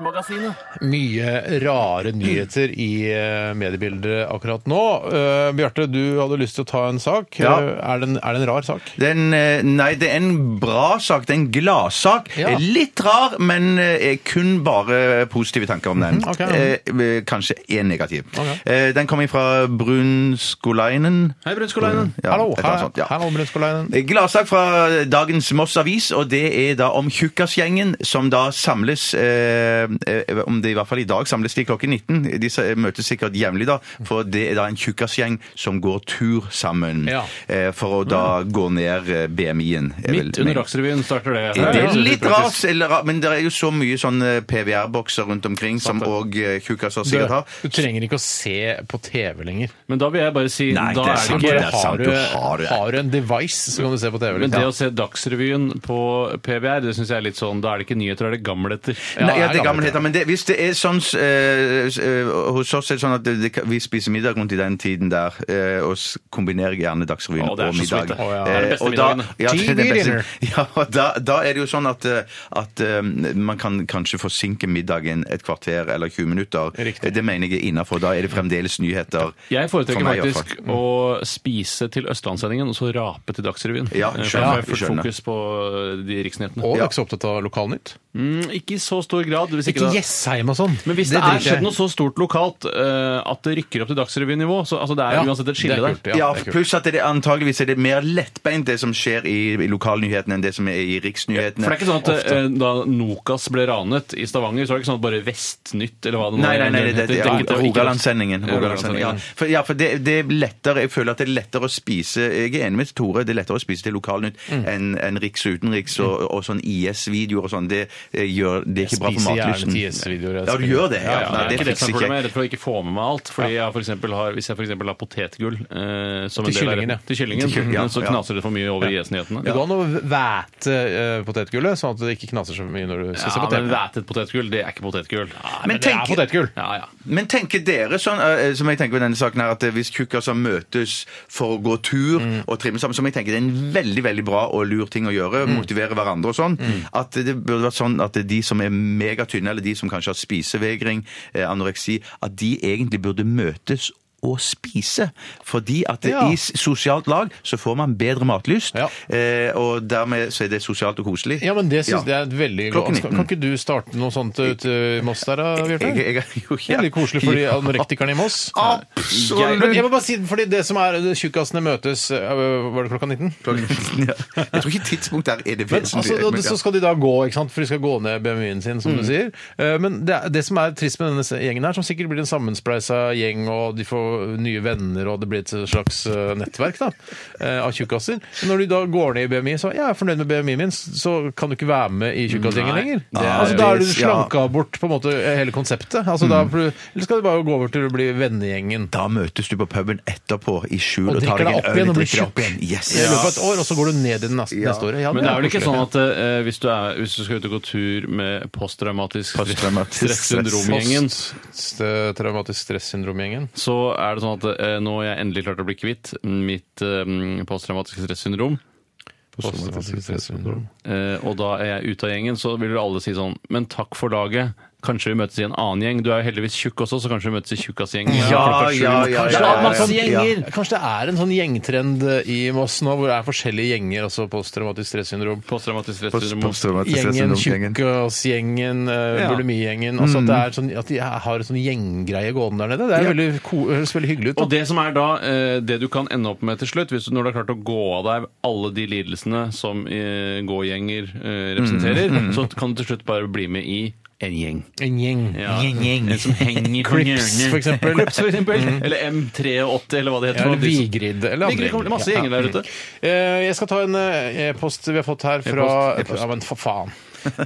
Mye rare nyheter i eh, mediebildet akkurat nå. Eh, Bjarte, du hadde lyst til å ta en sak.
Ja.
Eh, Er, det en, er det en rar sak?
Det er en, eh, nei, det er en bra sak. Det er en gladsak.
Ja.
Eh, Litt rar, men eh, kun bare positive tanker om den.
Mhm, ok.
Eh, eh, Kanskje én negativ.
Ok.
Eh, Den kommer fra Brunskolainen.
Hei, Brunskolainen.
Mm, Ja,
Hallo,
et eller annet
her,
sånt, ja. Eh,
her holder Brunskoleinen.
Gladsak fra dagens Moss Avis, og det er da om Tjukkasgjengen, som da samles eh, eh, Om det i hvert fall i dag samles de klokken 19. De sa- møtes sikkert jevnlig, da, for det er da en tjukkasgjeng som går tur sammen.
Ja.
Eh, for å da gå ned eh, BMI-en. er vel
Midt under
meningen.
Dagsrevyen starter det.
Det
Ja, ja.
er litt rart, eller rart, men det er jo så mye sånne PVR-bokser rundt omkring som òg tjukkaser
Du,
sikkert har.
du trenger ikke å se på TV lenger.
Men da vil jeg bare si
Nei,
da
det er
er det
sant,
ikke
det
Bare
er
har,
sant,
du,
du har det.
har du en device, så kan du se på TV.
Men det
liksom.
å se Dagsrevyen på PVR, det syns jeg er litt sånn Da er det ikke nyheter, da er det gammelheter.
Nei, ja,
det er
det
gammelt,
er gammelheter, men det, hvis det er sånn eh, s- eh, Hos oss er det sånn at det, det, kan- vi spiser middag rundt i den tiden der, eh, og s- kombinerer gjerne Dagsrevyen
Å, det er
og
så sweet,
middag.
det.
Å, ja.
Eh,
Det er den beste
og da-
middagen.
ja, det er den
TV
beste-
dinner.
Ja, og da, da er det jo sånn at, eh, at eh, man kan kanskje forsinke middagen et kvarter eller 20 minutter. Eh,
Riktig.
Det mener jeg er innafor. Da er det fremdeles nyheter.
Jeg
For
foretrekker
meg, i hvert
faktisk å spise til Østlandssendingen og så rape til Dagsrevyen.
Ja,
Eh, for
skjønner,
da får jeg fullt
skjønner.
fokus på eh, de riksnyhetene.
Og du
Ja.
er ikke så opptatt av lokalnytt?
Mm, ikke i så stor grad. Hvis ikke
Ikke
da-
Jessheim og sånn.
Men hvis det, er skjedd noe så stort lokalt eh, at det rykker opp til Dagsrevyen-nivå, så altså, det er
Ja,
uansett et
det
skille
er
der.
kult, ja.
Ja,
det er kult.
pluss at det antageligvis er det mer lettbeint det som skjer i, i lokalnyhetene enn det som er i riksnyhetene.
For det er ikke sånn at eh, da Nokas ble ranet i Stavanger, så var det ikke sånn at bare Vestnytt eller hva det nå
Nei, nei, nei, det, det, det,
heter, dekket det,
det er
og ikke-
Rogalandssendingen.
Ja,
Rogalandssendingen, Ja,
Rogalandssendingen.
for, ja, for det, det er lettere, jeg føler at det er lettere å spise Jeg er enig med Tore, det er lettere å spise til lokalnytt enn enn Riks og utenriks og, og sånn IS-videoer og sånn. Det, eh, gjør, det er ikke bra for
spiser gjerne
matlysten.
til IS-videoer, jeg
Ja, du
spiller.
gjør det? Ja,
Ja,
Nei,
det er ikke det som er
fikser ikke
problemet. Jeg
jeg.
er redd for å ikke få med meg alt. Fordi jeg for eksempel har, Hvis jeg f.eks. har potetgull eh,
Til
som en del av-
kyllingen, ja.
til kyllingen,
Til kyllingen, ja,
så
ja.
knaser det for mye over IS-nyhetene.
Det går an å væte eh, potetgullet, sånn at det ikke knaser så mye når du skal se
Ja,
på
men
TV.
vætet potetgull, det er ikke potetgull.
Men
det er
tenk-
potetgull.
Ja, ja.
Men tenker dere sånn, eh, som jeg tenker på denne saken her, at eh, hvis tjukkaser møtes for å gå tur
Mm.
og trimme sammen, som jeg tenker det er en veldig veldig bra og lur ting å gjøre,
Mm.
motivere hverandre og sånn, at det burde vært sånn at de som er megatynne, eller de som kanskje har spisevegring, eh, anoreksi, at de egentlig burde møtes og spise, fordi at det-
Ja.
i s- sosialt lag så får man bedre matlyst,
Ja.
eh, og dermed så er det sosialt og koselig.
Ja, men det synes jeg
Ja.
er et veldig
Klokken
godt Kan kan ikke du starte noe sånt ut eh, i Moss der, da, Bjarte?
Jeg- jeg- jeg- jo,
Det er litt koselig for de
Ja.
anorektikerne i Moss. Jeg,
Absolutt!
men jeg må bare si, fordi det som er Tjukkasene møtes øh, Var det klokka 19?
Klokken 19, ja. Jeg tror ikke tidspunktet her er det
Men, altså,
vesentlige, men
så
ja. Mm.
skal de da gå, ikke sant? for de skal gå ned BMI-en sin, som du sier. Eh, Men det, er- det som er trist med denne gjengen her, som sikkert blir en sammenspleisa gjeng, og de får nye venner, og det blir et slags eh, nettverk da, eh, av tjukkaser Men Når de da går ned i BMI, så jeg er fornøyd med BMI-en min, så kan du ikke være med i tjukkasgjengen
Nei.
lenger.
Nei,
altså, da er du
det- ja. Mm.
slanka bort på en måte hele konseptet. Altså, da, blir du- eller skal du bare gå over til å bli vennegjengen?
Da møtes du på puben etterpå i skjul
Og
og, tar
drikker deg
deg en
opp
øl.
igjen og blir
drikker deg opp
tjukk.
igjen. Yes.
I løpet av et år, og så går du ned i det neste,
Ja.
neste året. Ja,
Men det er vel ikke
koselig.
sånn at eh, hvis du, er, hvis du skal ut og gå tur med posttraumatisk
Posttraumatisk
stressyndrom-gjengen,
St- Traumatisk stressyndrom-gjengen.
så er det sånn at eh, nå har jeg endelig klart å bli kvitt mitt eh, posttraumatiske stressyndrom.
Posttraumatisk stressyndrom.
Eh, og da er jeg ute av gjengen, så vil jo alle si sånn Men takk for laget. Kanskje vi møtes i en annen gjeng. Du er jo heldigvis tjukk også, så kanskje vi møtes i tjukkasgjengen.
Ja,
klokka sju.
ja, ja,
Kanskje
ja,
det er
ja,
masse
ja.
gjenger.
Kanskje det er en sånn gjengtrend i Moss nå, hvor det er forskjellige gjenger, altså posttraumatisk stressyndrom.
Posttraumatisk
Post-
stressyndrom.
posttraumatisk
Gjengen,
stressyndrom-gjengen.
tjukkasgjengen, eh,
Ja.
bulimigjengen altså at, det er sånn, at de har en sånn gjenggreie gående der nede. Det er veldig, ko- høres veldig hyggelig ut.
Og
Da.
det som er da eh, det du kan ende opp med til slutt, hvis du, når du har klart å gå av deg alle de
Mm.
lidelsene som eh, gågjenger eh, representerer, så kan du til slutt bare bli med i en gjeng.
En gjeng.
Ja,
Gjeng, gjeng.
En som henger på
Crips,
hjørnet.
for eksempel. Mm.
Crips, for eksempel. Eller M83, eller hva det heter.
Ja, eller
De som-
Vigrid, eller andre
Vigrid kommer til masse
gjenger.
gjenger der ute.
Eh, Jeg skal ta en eh, e-post vi har fått her fra Ja, men for faen.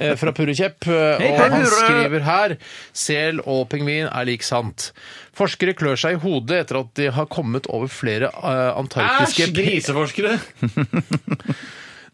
Eh, Fra Purre Kjepp. eh, Og han skriver her Sel og pingvin er lik sant. Forskere klør seg i hodet etter at de har kommet over flere eh, antarktiske
griseforskere!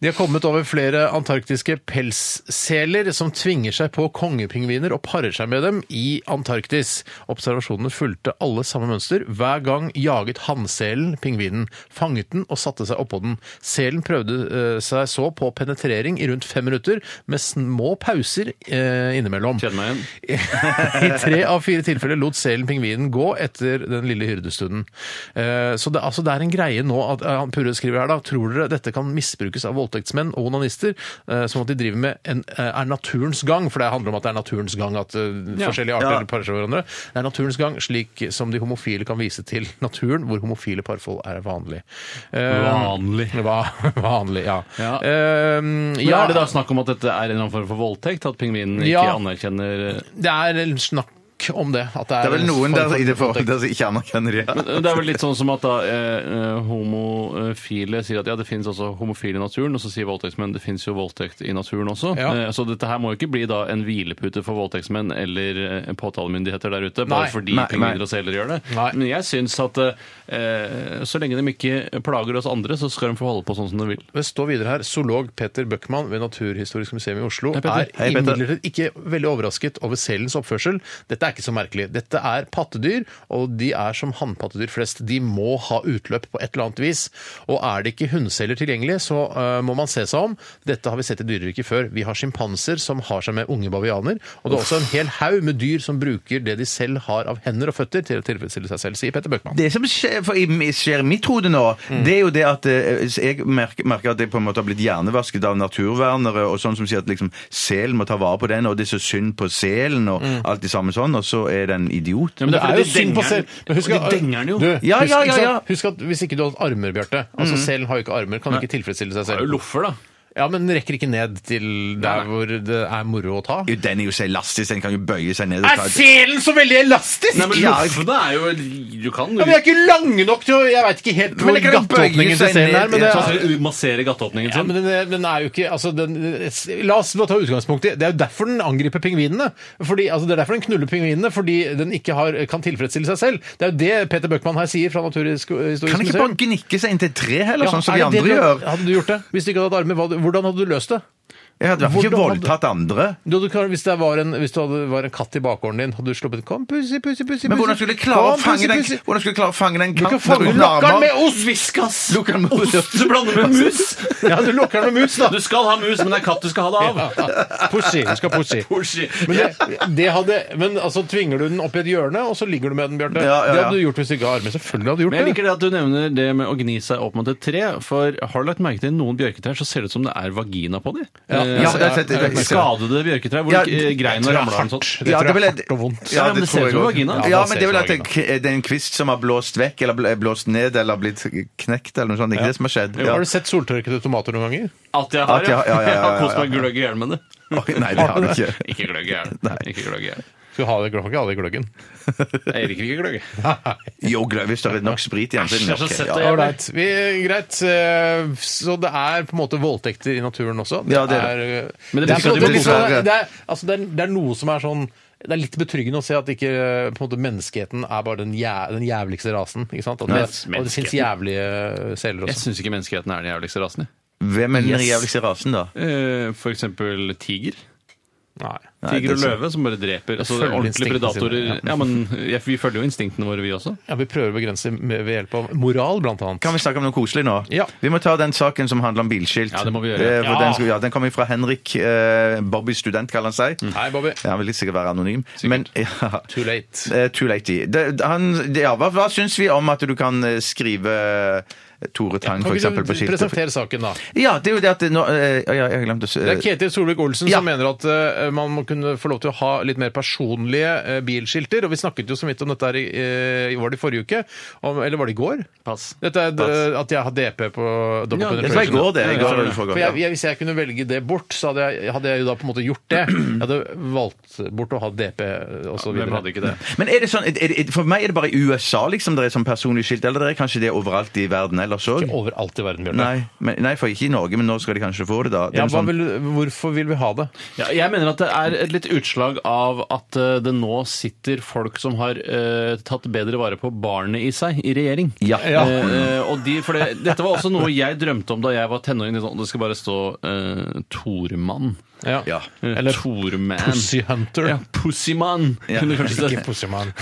De har kommet over flere antarktiske pelsseler som tvinger seg på kongepingviner og parer seg med dem i Antarktis. Observasjonene fulgte alle samme mønster. Hver gang jaget hannselen pingvinen, fanget den og satte seg oppå den. Selen prøvde eh, seg så på penetrering i rundt fem minutter, med små pauser eh, innimellom.
Kjenn meg igjen.
I tre av fire tilfeller lot selen pingvinen gå etter den lille hyrdestunden. Eh, Så det, altså, det er en greie nå at eh, han Purre skriver her da, tror dere dette kan misbrukes av voldtektsmenn og onanister, eh, som at de driver med en, eh, er naturens gang, for det handler om at det er naturens gang at eh,
Ja.
forskjellige arter parer seg med hverandre. Det er naturens gang, slik som de homofile kan vise til naturen, hvor homofile parforhold er vanlig. Eh,
Vanlig.
Va vanlig, ja.
Ja.
Eh,
Men
ja,
Er det da snakk om at dette er en eller annen form for voldtekt? At pingvinen ikke
Ja.
anerkjenner eh,
det er snakk om det. At det,
Det er vel
en
noen
form
der
for
i det
voldtekt.
forholdet der som ikke anerkjenner det.
Men Det er vel litt sånn som at da eh, eh, homofile sier at ja, det finnes også homofile i naturen, og så sier voldtektsmenn det finnes jo voldtekt i naturen også.
Ja.
Eh, så dette her må jo ikke bli da en hvilepute for voldtektsmenn eller eh, påtalemyndigheter der ute, bare
Nei.
fordi
Nei, nei.
pingviner og seler gjør det.
Nei.
Men jeg syns at eh, så lenge de ikke plager oss andre, så skal de få holde på sånn som de vil.
Det står videre her zoolog Peter Bøckmann ved Naturhistorisk museum i Oslo
Hei, Peter.
er
Hei, Peter.
imidlertid ikke veldig overrasket over selens oppførsel. Dette er ikke så merkelig. Dette er pattedyr, og de er som hannpattedyr flest. De må ha utløp på et eller annet vis. Og er det ikke hundceller tilgjengelig, så øh, må man se seg om. Dette har vi sett i dyreriket før. Vi har sjimpanser som har seg med unge bavianer, og det er også en hel haug med dyr som bruker det de selv har av hender og føtter til å tilfredsstille seg selv, sier Peter Bøckmann.
Det som skjer, for, i- skjer i mitt hode nå, det er jo det at eh, jeg merker, merker at jeg på en måte har blitt hjernevasket av naturvernere og sånn som sier at liksom selen må ta vare på den, og det er så synd på selen og alt det samme sånn, og så er den idiot.
Ja, men det er
jo
fordi de
synd på
denger den.
sel. Men husk,
De denger den jo.
Du,
Det
Ja,
husk,
ja,
ikke
ja, ja.
sant? husk at hvis ikke du har hatt armer, Bjarte Altså selen har jo ikke armer, kan ikke tilfredsstille seg
Mm. er jo
selv.
loffer, da.
Ja, men den rekker ikke ned til
Nei, nei.
der hvor det er moro å ta.
Jo, Den er jo så elastisk, den kan jo bøye seg ned og ta
selen så veldig elastisk?!
Nei, men
Ja,
loffene er jo Du kan
Ja, men de er ikke lange nok til å Jeg veit ikke helt
Men
hvor
det kan jo bøye
gatteåpningen til
seg
selen
ned
er, men
i
det
et
er
Altså, massere gatteåpningen
ja,
sin.
men den, er- den er jo ikke altså, den, La oss bare ta utgangspunkt i Det er jo derfor den angriper pingvinene. Fordi, altså, det er derfor den knuller pingvinene, fordi den ikke har, kan tilfredsstille seg selv. Det er jo det Peter Bøckmann her sier fra Naturhistorisk museum.
Kan ikke bare gnikke seg inn til et tre heller, sånn som
er
de
det
andre
det du-
gjør?
Hadde du gjort det? Hvis du ikke hadde hatt armer, hva- hvordan hadde du løst det?
Jeg hadde i hvert fall ikke
Hvordan hadde-
voldtatt andre.
Du hadde, klart- hvis, det var en, hvis du hadde, var en katt i bakgården din, hadde du sluppet Kom, pussi, pussi, pussi.
Men hvordan
pussi.
skulle jeg klare å
Kom,
fange
pussi,
den,
pussi.
hvordan skulle jeg klare å fange den
Du kan
katten
fange
uten
lokkeren
armer?
med ost!
Viskas!
Lukker den mot-
Ost du blander med mus!
Ja, du lokker den med mus, da.
Du skal ha mus, men det er katt du skal ha det av.
Pussi. Du skal pussi.
Pushy.
Men, det, det hadde, men altså, tvinger du den opp i et hjørne, og så ligger du med den, Bjarte.
Ja, ja, ja.
Det hadde du gjort hvis du ikke hadde armer. Selvfølgelig hadde du gjort
Men jeg
det.
liker det at du nevner det med å gni seg opp mot et tre. For har du lagt merke til noen bjørketrær så ser det ut som det er vagina på dem?
Ja,
Eh,
ja, det er- det er- det er-
skadede bjørketrær hvor
Ja,
ikke- greina
tror jeg
ramler av
hardt.
og sånt.
Det
Ja,
tror
det
jeg
vil
er
jeg-
hardt og vondt.
Ja, men det ser
tror
ut
jeg
som
også.
vagina.
Ja,
Ja,
det
men
ser
det er vel
ut
at
som
det er k- det er en kvist som har blåst vekk, eller bl- blåst ned, eller blitt knekt, eller noe sånt. Ikke det som har skjedd. Ja.
Har du sett soltørkede tomater noen ganger?
At jeg har,
At jeg har- ja, ja, ja,
Jeg har kost
ja,
meg gløgg i hjel med det.
Oi, Nei, det har du ikke.
Ikke gløgg i hjel. Ikke gløgg i hjel.
Skal du ha det, ikke ha det i gløggen?
Jeg liker ikke gløgg.
Jo, glø- hvis det er nok sprit igjen, så er det
Æsj, jeg har
nok.
så sett
ja.
det.
Ålreit. Vi- Greit. eh, Så det er på en måte voldtekter i naturen også?
Ja, det er
eh,
Men det
det er
viser
på- det
at de
er
blir
liksom-
dessverre-
det er- altså, det er- det er noe som er sånn det er litt betryggende å se at ikke eh, på en måte, menneskeheten er bare den, jæ den jævligste rasen. ikke sant? At det,
Nei,
og det fins jævlige eh, seler
Jeg
også.
syns ikke menneskeheten er den jævligste rasen. jeg.
Hvem er den
Yes.
jævligste rasen, da?
Eh, For eksempel tiger.
Nei.
Tiger
det
og
er
løve som bare dreper. Altså,
følger
ordentlige
instinktene sine,
predatorer. Ja, men ja, Vi følger jo instinktene våre, vi også.
Ja, vi prøver å begrense med, ved hjelp av moral, blant annet.
Kan vi snakke om noe koselig nå?
Ja.
Vi må ta den saken som handler om bilskilt.
Ja, det må vi gjøre.
Eh, for
Ja.
Den, skal, ja, den kommer fra Henrik eh, Bobby Student, kaller han seg.
Hei, Bobby.
Ja, han vil sikkert være anonym. Men, ja.
Mm. Too late.
Eh, Too late. Det, han, det, ja, hva, hva syns vi om at du kan eh, skrive Tore Tang,
Kan
f.eks.
ikke
på
du
skiltet.
presentere saken, da?
Ja, det er jo det at det nå, eh, ja, Jeg har glemt å s-
Det er Ketil Solvik-Olsen
Ja.
som mener at eh, man må kunne få lov til å ha litt mer personlige eh, bilskilter. Og vi snakket jo så vidt om dette her i, eh, var det i forrige uke, om, eller var det i går?
Pass.
Dette er eh, at jeg har DP på Double
Ja,
Det var i
Penetration.
går, det. I går, eller
For
forgår,
jeg,
ja.
jeg, hvis jeg kunne velge det bort, så hadde jeg, hadde jeg jo da på en måte gjort det. Jeg hadde valgt bort å ha DP og så
Hvem
videre.
hadde ikke det?
Men er det sånn, er det, er det- For meg er det bare i USA liksom, det er sånn personlig skilt, eller det er kanskje det overalt i verden ellers
Ikke
òg?
overalt i verden, Bjørn.
Nei, men, nei, for ikke i Norge, men nå skal de kanskje få det, da. Det er
Ja,
noe
hva
sånn-
vil, hvorfor vil vi ha det?
Ja, jeg mener at det er et litt utslag av at eh, det nå sitter folk som har eh, tatt bedre vare på barnet i seg, i regjering.
Ja.
Eh, eh, og de, for det, dette var også noe jeg drømte om da jeg var tenåring. Sånn, det skal bare stå uh, Tormann.
Ja.
Ja.
Eh,
Eller
Torman.
Pussy Hunter.
Ja, Pussyman. kunne du kanskje
Ikke
si.
Pussyman.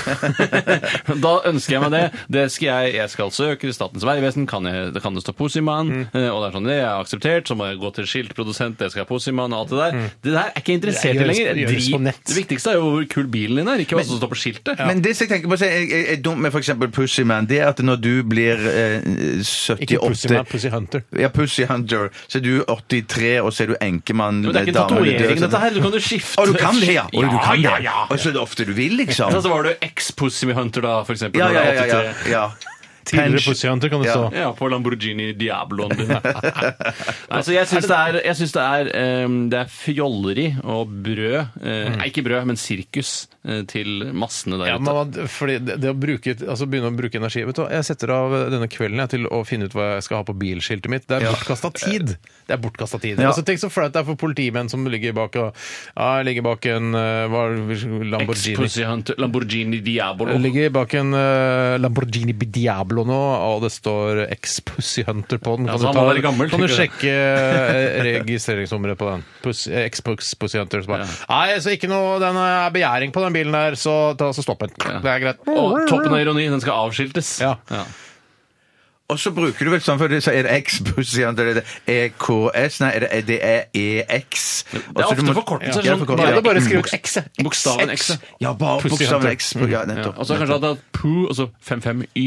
da ønsker jeg meg det. det skal jeg, jeg skal søke til Statens vegvesen. Kan, jeg, det kan det stå Pussyman?
Mm.
Eh, Og det er sånn, det er akseptert. Så må jeg gå til skiltprodusent, det skal jeg ha Pussyman, og alt det
Mm.
der. Det der er ikke jeg interessert
Det
i
gjøres-
lenger.
det gjøres på
Drit.
nett.
Det viktigste er jo hvor kul bilen din er, ikke hva som står på skiltet.
Men det som jeg tenker på, så er, er, er dumt med f.eks. Pussyman, det er at når du blir eh, 78
Ikke Pussyman, Pussy Hunter.
Ja, Pussy Hunter. Så er du 83, og så er du enkemann.
Men det er ikke
dame, du dør,
tatovering,
sånn.
dette her. Du kan jo skifte.
Å, du kan det, ja! Å, du kan
ja,
det.
ja.
Og så er det ofte du vil, liksom.
Så var du eks-Pussy Hunter, da, for eksempel.
Ja,
når
ja,
du
ja.
er
ja,
83.
ja.
Tidligere
Pens-
Pussy Hunter kan det
Ja.
stå.
Ja, på Lamborghini Diabloen din. altså, jeg syns det er, jeg synes det er, ehm, det er fjolleri og brød eh, Nei, ikke brød, men sirkus eh, til massene
Mm.
der
Ja,
ute.
men man- fordi det, det å bruke, altså begynne å bruke energi Vet du hva, Jeg setter av denne kvelden jeg, til å finne ut hva jeg skal ha på bilskiltet mitt. Det er bortkasta tid! Det er bortkasta tid.
Ja.
Altså, tenk så flaut det er for politimenn som ligger bak, og, ja, jeg ligger bak en eh, hva, er det, Lamborghini.
Ex-Pussy Hunter, Lamborghini Diablo.
Jeg ligger bak en eh, Lamborghini Diablo nå, og det står Ex-Pussy Hunter på den.
Ja, så han må være gammel,
kan du
ikke det?
sjekke eh, registreringsnummeret på den? Pussy- eh, Ex-Pussy Hunter. Så bare, Nei, så ikke noe den er begjæring på den bilen der, så, ta, så stopp den. Det er greit.
Og toppen av ironi, den skal avskiltes.
Ja.
Og så bruker du vel sånn, for så er det X-Pussy Hunter, er det EKS Nei, er det, det E er EX.
Det er ofte forkortelser.
Ja,
sånn-
forkortelser,
Bare,
ja. Mm.
det bare skriv ut X.
Bokstaven X. ja.
Ja, bare
Pussy
bokstaven
Hunter.
X. Ja,
Ja.
nettopp.
Og så kanskje at det er Poo, og så 55Y.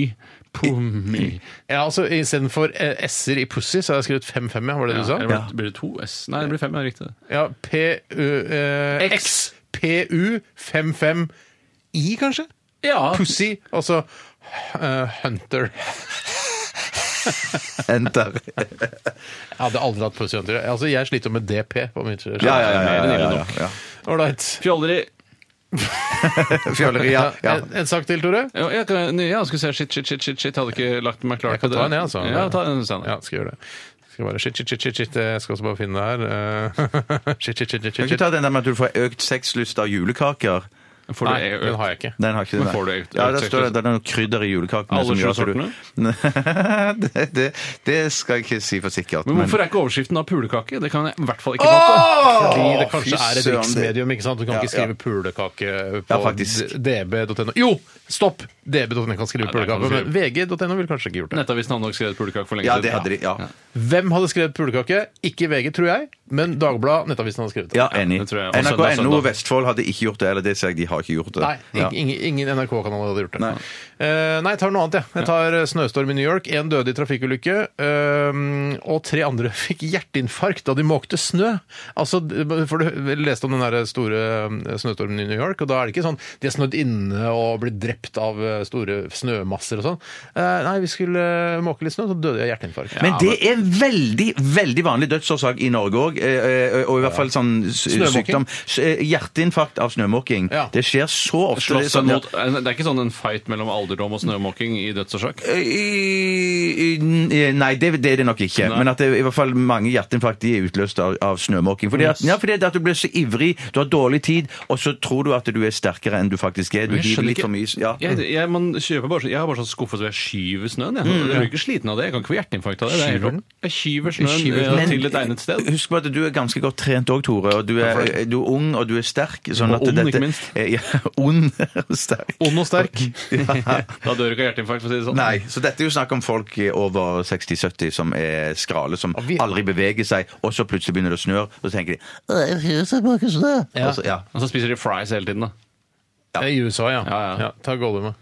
Pumi.
Ja, altså Istedenfor eh, S-er i pussy, så har jeg skrevet 5-5, ja, var det
Ja,
du sa?
eller blir det- blir det to S? Nei, det blir fem, ja, riktig.
Ja, eh, PU-X-PU-55-I, kanskje?
Ja,
Pussy, altså eh, Hunter.
sånn-
Enter.
Jeg hadde aldri hatt Pussy Hunter. Altså, Jeg sliter med DP på mitt
Ja, ja, ja. ja, ja, ja, ja.
Ålreit.
fjolleri.
Fjolleri, ja. ja.
En, en sak til, Tore?
Ja, jeg, kan- ja, jeg skulle si shit, shit, shit, shit, shit. Hadde ikke lagt meg klar
Jeg kan
til
ta
det.
en, jeg, altså.
Ja, ta en, Steinar.
Ja, skal gjøre det. Skal bare shit, shit, shit, shit, shit. Jeg skal også bare finne det her. Eh, shit, shit, shit, shit,
Kan
shit,
ikke
shit.
ta den der med at du får økt sexlyst av julekaker?
Får du
Nei,
økt-
den har jeg ikke.
Den har ikke
Men
nei.
får du økt-
Ja,
økt
der står det, det er noe krydder i julekakene.
Alle
som gjør at
sju
du- det, det, det skal jeg ikke si for sikkert.
Men hvorfor
det?
er ikke overskriften da pulekake? Det kan jeg i hvert fall ikke fatte.
Fordi det
Å,
kanskje
fy
er et
søren,
riksmedium, ikke sant? Du kan
Ja,
ikke skrive pulekake
Ja,
på
faktisk.
d- db.no. Jo! Stopp! db.no kan skrive
Ja, det kan
pulekake, men
du
vg.no ville kanskje ikke gjort det.
Nettavisen hadde nok skrevet pulekake for lenge
Ja, det hadde de. Ja,
Hvem hadde skrevet pulekake? Ikke VG, tror jeg, men Dagbladet, Nettavisen hadde skrevet det.
ja enig.
det tror jeg. Og søndag,
NRK.no
søndag.
Vestfold hadde ikke gjort det, eller det sier jeg de har ikke gjort det.
Nei,
Ja.
ing- ingen, ingen NRK-kanal hadde gjort det.
Nei.
Eh, nei, jeg tar noe annet, jeg. Jeg tar eh, snøstorm i New York, én døde i trafikkulykke, eh, og tre andre fikk hjerteinfarkt da de måkte snø. Altså, d- for du leste om den der store eh, snøstormen i New York, og da er det ikke sånn de er snødd inne og blitt drept av eh, store snømasser og sånn. Eh, nei, vi skulle eh, måke litt snø, så døde jeg av hjerteinfarkt.
Men det er en veldig veldig vanlig dødsårsak i Norge òg. Og i hvert fall sånn s-
Snømåking.
sykdom. S- eh, Hjerteinfarkt av snømåking.
Ja.
Det skjer så ofte.
Slåss
Det er sånn-
mot, det er ikke sånn en fight mellom alderdom og snømåking i dødsårsak?
I- i- i- Nei, det, det er det nok ikke. Men at det, i hvert fall mange hjerteinfarkt de er utløst av, av snømåking. Fordi at, ja, fordi det at du blir så ivrig, du har dårlig tid, og så tror du at du er sterkere enn du faktisk er. Du
Jeg
hiver
skjønner
litt
ikke-
for mye. Ja.
Jeg, jeg, man kjøper bare, så- jeg har bare sånn skuffe så jeg skyver snøen. Jeg, jeg blir ikke sliten av det. Jeg kan ikke få hjerteinfarkt av det. det er,
Skyver
helt-
den?
jeg skyver snøen
Skyver
eh,
Men
til et egnet sted.
Husk på at du er ganske godt trent òg, Tore. Og du er, du er ung, og du er sterk. Sånn
Og
at
ond,
dette,
ikke minst.
Ja, ond og sterk.
Ond og sterk.
Da dør du ikke av hjerteinfarkt, for å si det sånn.
Nei, så dette er jo snakk om folk i over 60-70 som er skrale, som
vi-
aldri beveger seg, og så plutselig begynner det å snøre, og så tenker de «Å, jeg vil ikke smake snø». Og så- ja.
Og så spiser de fries hele tiden, da.
Det er I USA, ja.
Ja, ja.
ta Gollumet.
«Å,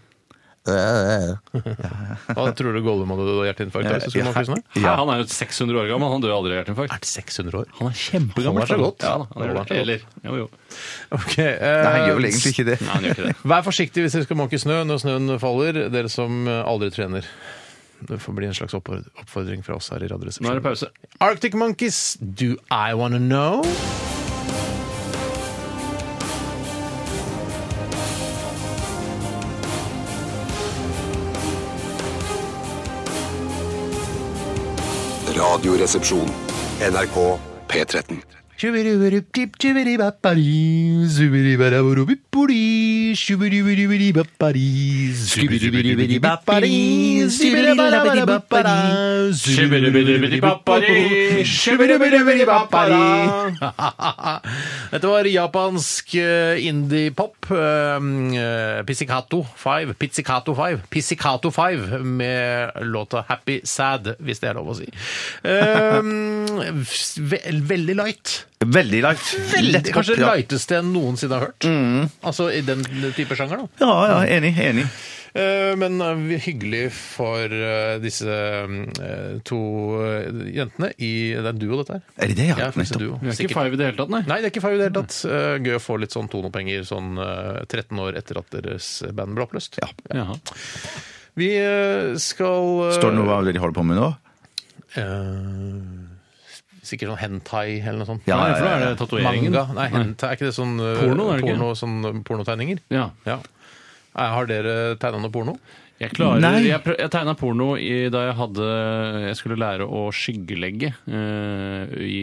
Hva tror du Gollum hadde da hjerteinfarkt? hvis du skulle mange tusen år?
Hæ, Han er jo 600 år gammel, han dør aldri av hjerteinfarkt.
Er det 600 år?
Han er kjempegammel.
Holder seg godt.
Ja, da, han gjør
Holder
det.
seg
Eller, jo, jo.
Ok,
Nei, han
eh,
gjør vel egentlig ikke det.
Nei, han gjør ikke det.
Vær forsiktig hvis dere skal måke snø når snøen faller, dere som eh, aldri trener. Det får bli en slags oppford- oppfordring fra oss her i
Nå er det
Radioresepsjonen.
pause.
Arctic Monkeys, Do I Wanna Know?
Radioresepsjon. NRK P13.
Dette var japansk eh, indie-pop. eh, Pizzicato 5. Pizzicato 5. Pizzicato 5 med låta 'Happy Sad', hvis det er lov å si. Eh, ve veldig light.
Veldig Mm. langt.
Veldig, kanskje det
ja.
lighteste jeg noensinne har hørt. Altså i den type sjanger, da.
Ja, ja, enig. enig.
Eh, Men eh, vi- hyggelig for eh, disse eh, to eh, jentene i Det er en duo, dette her.
Er det det, ja?
Ja, faktisk en duo.
Vi er ikke
Sikkert.
five i det hele tatt, nei.
Nei, det er ikke feil i det hele tatt. Eh, Gøy å få litt sånn tonopenger sånn eh, 13 år etter at deres band ble oppløst.
Jaha.
Vi eh, skal eh,
Står det noe om hva de holder på med nå?
eh, Sikkert sånn hentai eller noe sånt.
Ja,
Nei,
ja,
for da
ja,
er
ja.
det tatoveringen.
Manga. Nei, hentai, er ikke det sånn eh,
Porno, er det ikke?
porno, sånn pornotegninger?
Ja.
Ja. Eh, Har dere tegna noe porno?
Jeg, klarer,
Nei.
jeg, prø- jeg tegna porno i, da jeg hadde Jeg skulle lære å skyggelegge eh, i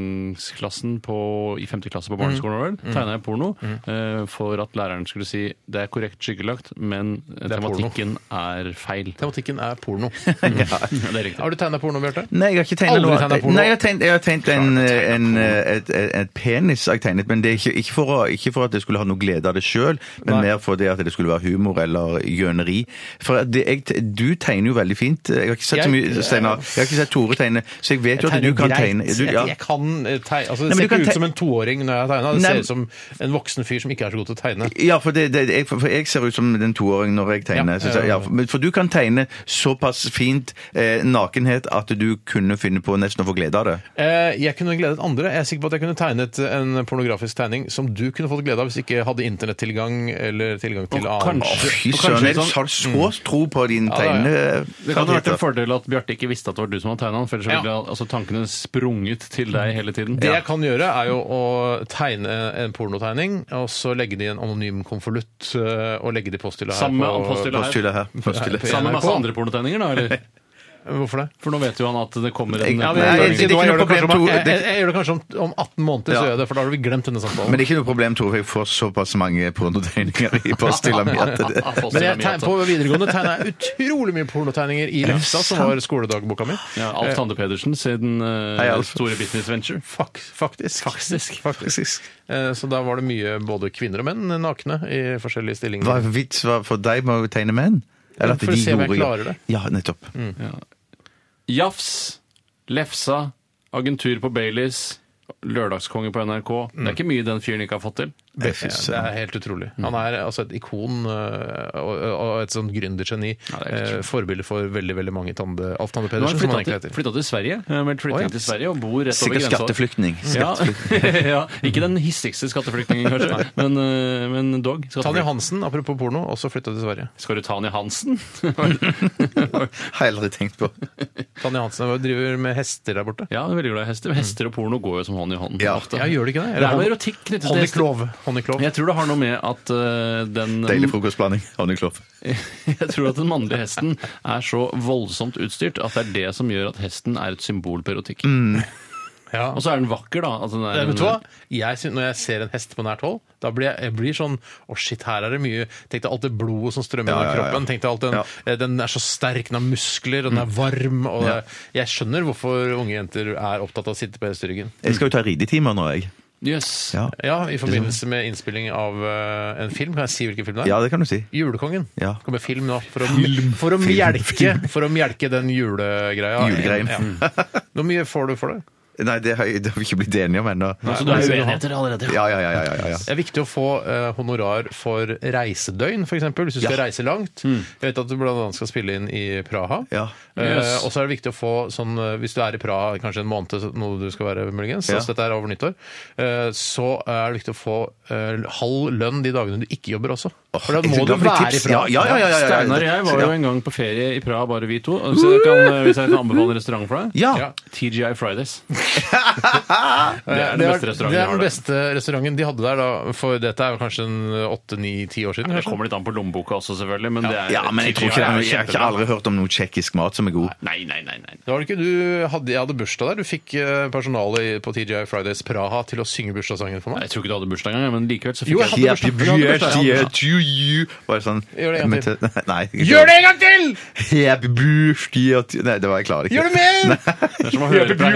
tegningsklassen på, i 5. klasse på barneskolen.
Mm.
var det vel, Tegna jeg porno eh, for at læreren skulle si det er korrekt skyggelagt, men
er
tematikken er feil.
Tematikken er porno. Mhm.
Ja, det er riktig.
Har du tegna porno, Bjarte?
Nei, jeg har ikke tegnet
Aldri
noe.
tegnet porno.
Nei, jeg har tegnet, jeg har tegnet en, en, et, et, et penis, har jeg tegnet, men det er ikke, ikke, for å, ikke for at jeg skulle ha noe glede av det sjøl, men
Nei.
mer for det at det skulle være humor eller gjøneri. For det, jeg, te- du tegner jo veldig fint. Jeg har ikke sett så
Jeg-
mye, Steinar. Jeg har ikke sett Tore tegne, så jeg vet jo at du kan tegne. Du,
Jeg,
ja.
jeg kan eh, tegne. Altså, det
Nei, men du
ser
kan
ikke ut
te-
som en toåring når jeg har tegna. Det
Nei,
ser
men-
ut som en voksen fyr som ikke er så god til å tegne.
Ja, for, det, det, jeg, for jeg ser ut som den toåringen når jeg tegner.
Ja.
så, så- ja, for, men for du kan tegne såpass fint eh, nakenhet at du kunne finne på nesten å få glede av det.
Eh, Jeg kunne gledet andre. Jeg er sikker på at jeg kunne tegnet en pornografisk tegning som du kunne fått glede av hvis ikke jeg hadde internettilgang eller tilgang til
Og
annen
kanskje-
Fy
og kanskje
søren, jeg
sånn-
har så tro på din
da, ja.
tegne...
Det kan ha vært en fordel at Bjarte ikke visste at det var du som hadde tegna den, for ellers
Ja.
ville altså, tankene sprunget til deg hele tiden.
Det jeg kan gjøre, er jo å tegne en pornotegning, og så legge det i en anonym konvolutt eh, og legge det i posthylla her.
Samme
på-
posthylla.
Posthylle her. Posthylle.
Nei,
Sammen med masse
NRK.
andre pornotegninger, da? eller?
Hvorfor det?
For nå vet jo han at det kommer en
Jeg- Ja,
Nei,
Nei,
jeg,
det er
jeg,
ikke
jeg,
noe
gjør det kanskje om-
problem, Tor.
jeg, jeg, jeg gjør det kanskje om, om 18 måneder,
Ja.
så gjør jeg det, for da har vi glemt denne samtalen.
Men det er ikke noe problem, Tore, for jeg får såpass mange pornotegninger i posthylla mi at det
Men jeg tegn, på videregående tegna jeg utrolig mye pornotegninger i Lefsa, som var skoledagboka mi.
ja, Alf Tande Pedersen siden eh,
Hei, Alf.
Store Business Venture.
Fak, faktisk.
Faktisk.
Faktisk. Eh, Så da var det mye både kvinner og menn nakne i forskjellige
Hva
stillinger.
er vits hva- for deg med å tegne menn? Eller at
For å
de
se om jeg
gjorde-
klarer det. Mm.
Ja, nettopp.
Jafs, Lefsa, Agentur på Baileys, Lørdagskonge på NRK. Det er ikke mye den fyren ikke har fått til.
Ja,
Jeg synes,
det er helt utrolig. Han er altså et ikon eh, og, og et sånn gründergeni.
Ja, det er helt
eh,
utrolig.
Forbilde for veldig veldig mange Tande, Alf Tande
Nå har
Pedersen, som han
han
egentlig
flytta til,
heter.
flyttet til Sverige. Han har meldt
Å, ja.
flytting til Sverige og bor rett over
Sikkert
grensa.
skatteflyktning.
Ja. ja, ikke den hissigste skatteflyktningen, kanskje, men, eh, men dog.
Tanja
skatteflyktning.
Hansen, apropos porno, også flytta til Sverige.
Skal du Tanja Hansen?
Har jeg aldri tenkt på.
Tanja Hansen driver med hester der borte.
ja, hun er veldig glad i hester. Hester og porno går jo som hånd i hånd.
Ja.
ofte.
Ja, gjør det ikke det?
Det er noe
Eller
erotikk knyttet til
Hånd i
hester.
klov. Hånd i klov.
Jeg tror det har noe med at eh, den
Deilig frokostblanding. Honningkloff.
Jeg tror at den mannlige hesten er så voldsomt utstyrt at det er det som gjør at hesten er et symbol på erotikk.
Ja.
Og så er den vakker, da. Altså, den er
Eh, Mm. Vet du hva?
en,
Jeg syns- når jeg ser en hest på nært hold, da blir jeg, jeg blir sånn Å, shit, her er det mye Tenk deg alt det blodet som strømmer
Ja,
gjennom
ja, ja.
kroppen. Tenk deg alt den,
Ja.
eh, den er så sterk, den har muskler, og den er varm. Og det- Jeg skjønner hvorfor unge jenter er opptatt av å sitte på hesteryggen.
Jeg skal jo ta ridetimer nå, jeg.
Jøss.
Ja.
Ja, I forbindelse med innspilling av eh, en film. Kan jeg si hvilken film det er?
ja, det kan du si.
Julekongen.
Ja.
Kommer film nå for å, for å, mjelke, for å mjelke den julegreia.
Julegreien.
Ja. Hvor mye får du for det?
Nei, det har, jeg- det har vi ikke blitt enige om ennå.
Så du
men-
er uenigheter allerede?
Ja, ja, ja. ja, ja, ja.
Det er viktig å få eh, honorar for reisedøgn, f.eks. Hvis du skal reise langt. Jeg vet at du bl.a. skal spille inn i Praha.
Ja.
Eh,
Yes.
Og så er det viktig å få sånn eh, Hvis du er i Praha kanskje en måned, så- noe du skal være muligens,
Ja.
altså dette er over nyttår, eh, så er det viktig å få eh, halv lønn de dagene du ikke jobber også. For da
jeg er
må
så
du
glad for de
være i
tipsene.
Praha.
Ja, ja, ja, ja, ja, ja.
Steinar og jeg var jo
Ja.
en gang på ferie i Praha, bare vi to. Så jeg kan, eh, hvis jeg kan anbefale en restaurant for deg
Ja.
Ja.
TGI Fridays.
Eh,
Det er den beste restauranten
det
jeg
er
har
den
der.
beste restauranten de hadde der, da, for dette er jo kanskje en åtte-ni-ti år siden.
Det
kanskje?
kommer litt an på lommeboka også, selvfølgelig. Men det er,
Eh,
Ja, men jeg tror
TGI
ikke det.
er
er- Jeg har ikke
kjempebra.
aldri hørt om noe tsjekkisk mat som er god.
Nei, nei, nei. nei.
Det var det ikke du hadde, Jeg hadde bursdag der. Du fikk eh, personalet i- på TGI Fridays Praha til å synge bursdagssangen for
Nei,
meg.
Jeg tror ikke du hadde bursdag engang, men likevel så
Jo,
fikk
jeg
jeg
hadde bursdag. Jeg hadde bursdag. Jeg hadde bursdag.
Bare sånn
Gjør det en gang til.
Nei, Nei.
Gjør det en gang til!
Happy birthday to- Nei, det var jeg klarer ikke.
Gjør det mer!
Det er som å høre fra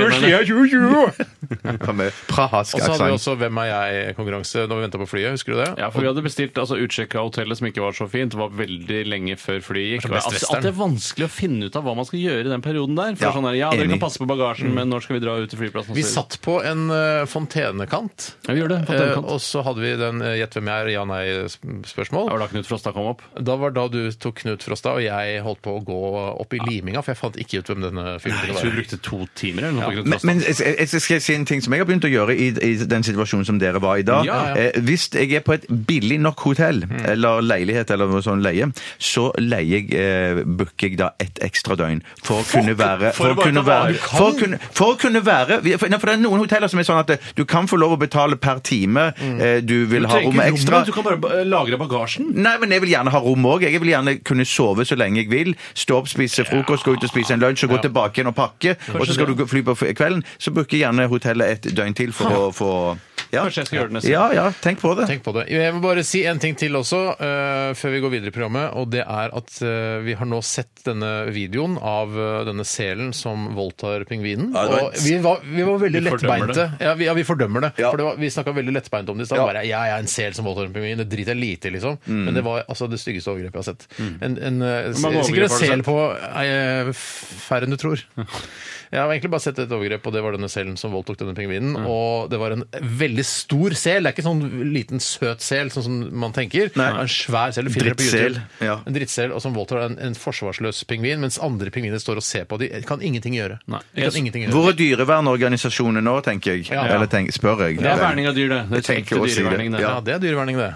hendene.
Med prahask
Og så hadde vi også
aksent.
Hvem er jeg-konkurranse når vi venta på flyet. Husker du det?
Ja, for Vi hadde bestilt altså utsjekk av hotellet som ikke var så fint. Det var veldig lenge før flyet
Det
gikk. Det
var
er,
som Best
altså, at det er vanskelig å finne ut av hva man skal gjøre i den perioden der. For
Ja,
sånn der, ja, dere kan
enig.
passe på bagasjen, men når skal vi dra ut til flyplassen? og
Vi
så videre?
satt på en eh, fontenekant.
Ja, vi gjorde det. Fått
eh,
en kant.
og så hadde vi den eh, gjett hvem jeg er, ja-nei-spørsmål.
Det var da Knut Frosta kom opp.
Da var da du tok Knut Frosta, og jeg holdt på å gå opp i liminga, for jeg fant ikke ut hvem denne fyren skulle
Jeg tror vi
være.
brukte to timer eller noe på Knut
Men,
Frosta.
men jeg, jeg, jeg skal si en ting som jeg har begynt å gjøre i, i den situasjonen som dere var i
Ja,
da.
ja. Mm.
Eh, hvis jeg er på et billig nok hotell, eller leilighet eller noe sånn leie, så leier jeg, eh, booker jeg da ett ekstra døgn for å kunne være
for å
For å
bare ta
kunne
vare.
være for å kunne, for å kunne være for, nei, for det er noen hoteller som er sånn at eh, du kan få lov å betale per time eh, du vil ha rommet ekstra.
Mm. Du kan bare eh, lagre bagasjen.
Nei, men jeg vil gjerne ha rom òg. Jeg vil gjerne kunne sove så lenge jeg vil. Stå opp, spise frokost, gå ut og spise en lunsj, og gå tilbake igjen og pakke. Og så skal du gå- fly på f- kvelden. Så booker jeg gjerne hotellet et døgn til for å få ja.
Kanskje jeg skal gjøre det neste
Ja, ja, tenk på det.
Tenk på det. Jeg vil bare si en ting til også, eh, før vi går videre i programmet. Og det er at eh, vi har nå sett denne videoen av eh, denne selen som voldtar pingvinen.
Ja, det var-
og vi var, vi var veldig
Vi fordømmer
lettbeinte. Ja vi, ja, vi fordømmer det.
Ja.
For det var, vi snakka veldig lettbeint om det i stad.
Ja. Mm.
Bare ja, jeg er en sel som voldtar en pingvin. Det driter jeg lite i, liksom. Men det var altså det styggeste overgrepet jeg har sett. En, en, eh,
mange
sikkert en
overgrep har du
sel på eh, færre enn du tror. Jeg har egentlig bare sett et overgrep, og det var denne selen som voldtok denne pingvinen. Og det var en veldig stor sel. Det er ikke sånn liten søt sel, sånn som man tenker.
Nei.
Det er En svær sel. du finner det på
Drittsel,
YouTube.
ja.
En drittsel, og som voldtar en, en forsvarsløs pingvin, mens andre pingviner står og ser på. De kan ingenting gjøre.
Nei.
De kan ingenting gjøre.
Hvor er dyrevernorganisasjonen nå, tenker jeg?
Ja.
Eller tenk, spør jeg.
Det er verning av dyr, det. Det er
Jeg tenker
ekte
å si det.
dyreverning, det.
Ja, det er dyreverning, det.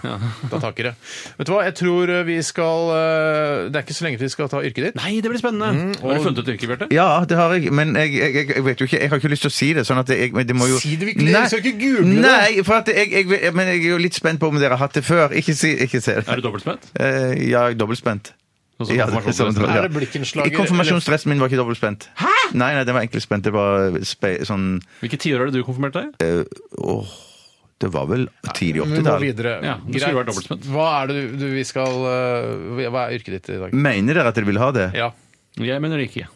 Da takker det. Vet du hva, jeg tror vi skal eh, Det er ikke så lenge til vi skal ta yrket ditt.
Nei, det blir spennende! Har du funnet ut yrke, Bjarte?
Ja, det har jeg, men jeg, jeg, jeg vet jo ikke Jeg har ikke lyst til å si det. sånn at jeg, men det må jo...
Si det virkelig, jeg skal ikke google det.
Nei, for at jeg, jeg, men jeg er jo litt spent på om dere har hatt det før. Ikke si ikke si det.
Er du dobbeltspent?
Eh, ja, jeg er dobbeltspent.
Sånn som
Ja, det er
konfirmasjonsdressen.
sånn det var, ja.
Er det blikkenslager,
I Konfirmasjonsdressen min var ikke dobbeltspent. Hæ? Nei, nei, den var enkeltspent. Det var spe, sånn
Hvilke tiår har du konfirmert deg? i?
Åh, det var vel tidlig
Vi må
80-tall.
videre.
Ja, det skulle vært dobbeltspent.
Hva er det du, du vi skal eh, Hva er yrket ditt i dag?
Mm.
Mener dere at dere vil ha det?
Ja.
Jeg mener det ikke.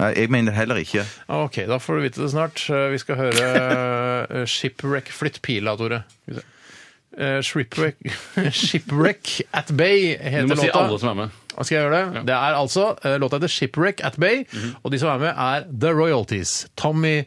Nei, jeg mener heller ikke.
Ok, da får du vite det snart. Eh, Vi skal høre eh, Shipwreck Flytt pila, Tore. Eh, Shipwreck, Shipwreck at Bay
Du
heter
må si
låta.
alle som er med.
Skal jeg gjøre det? Det er altså eh, Låta heter Shipwreck at Bay,
Mhm.
og de som er med, er The Royalties. Tommy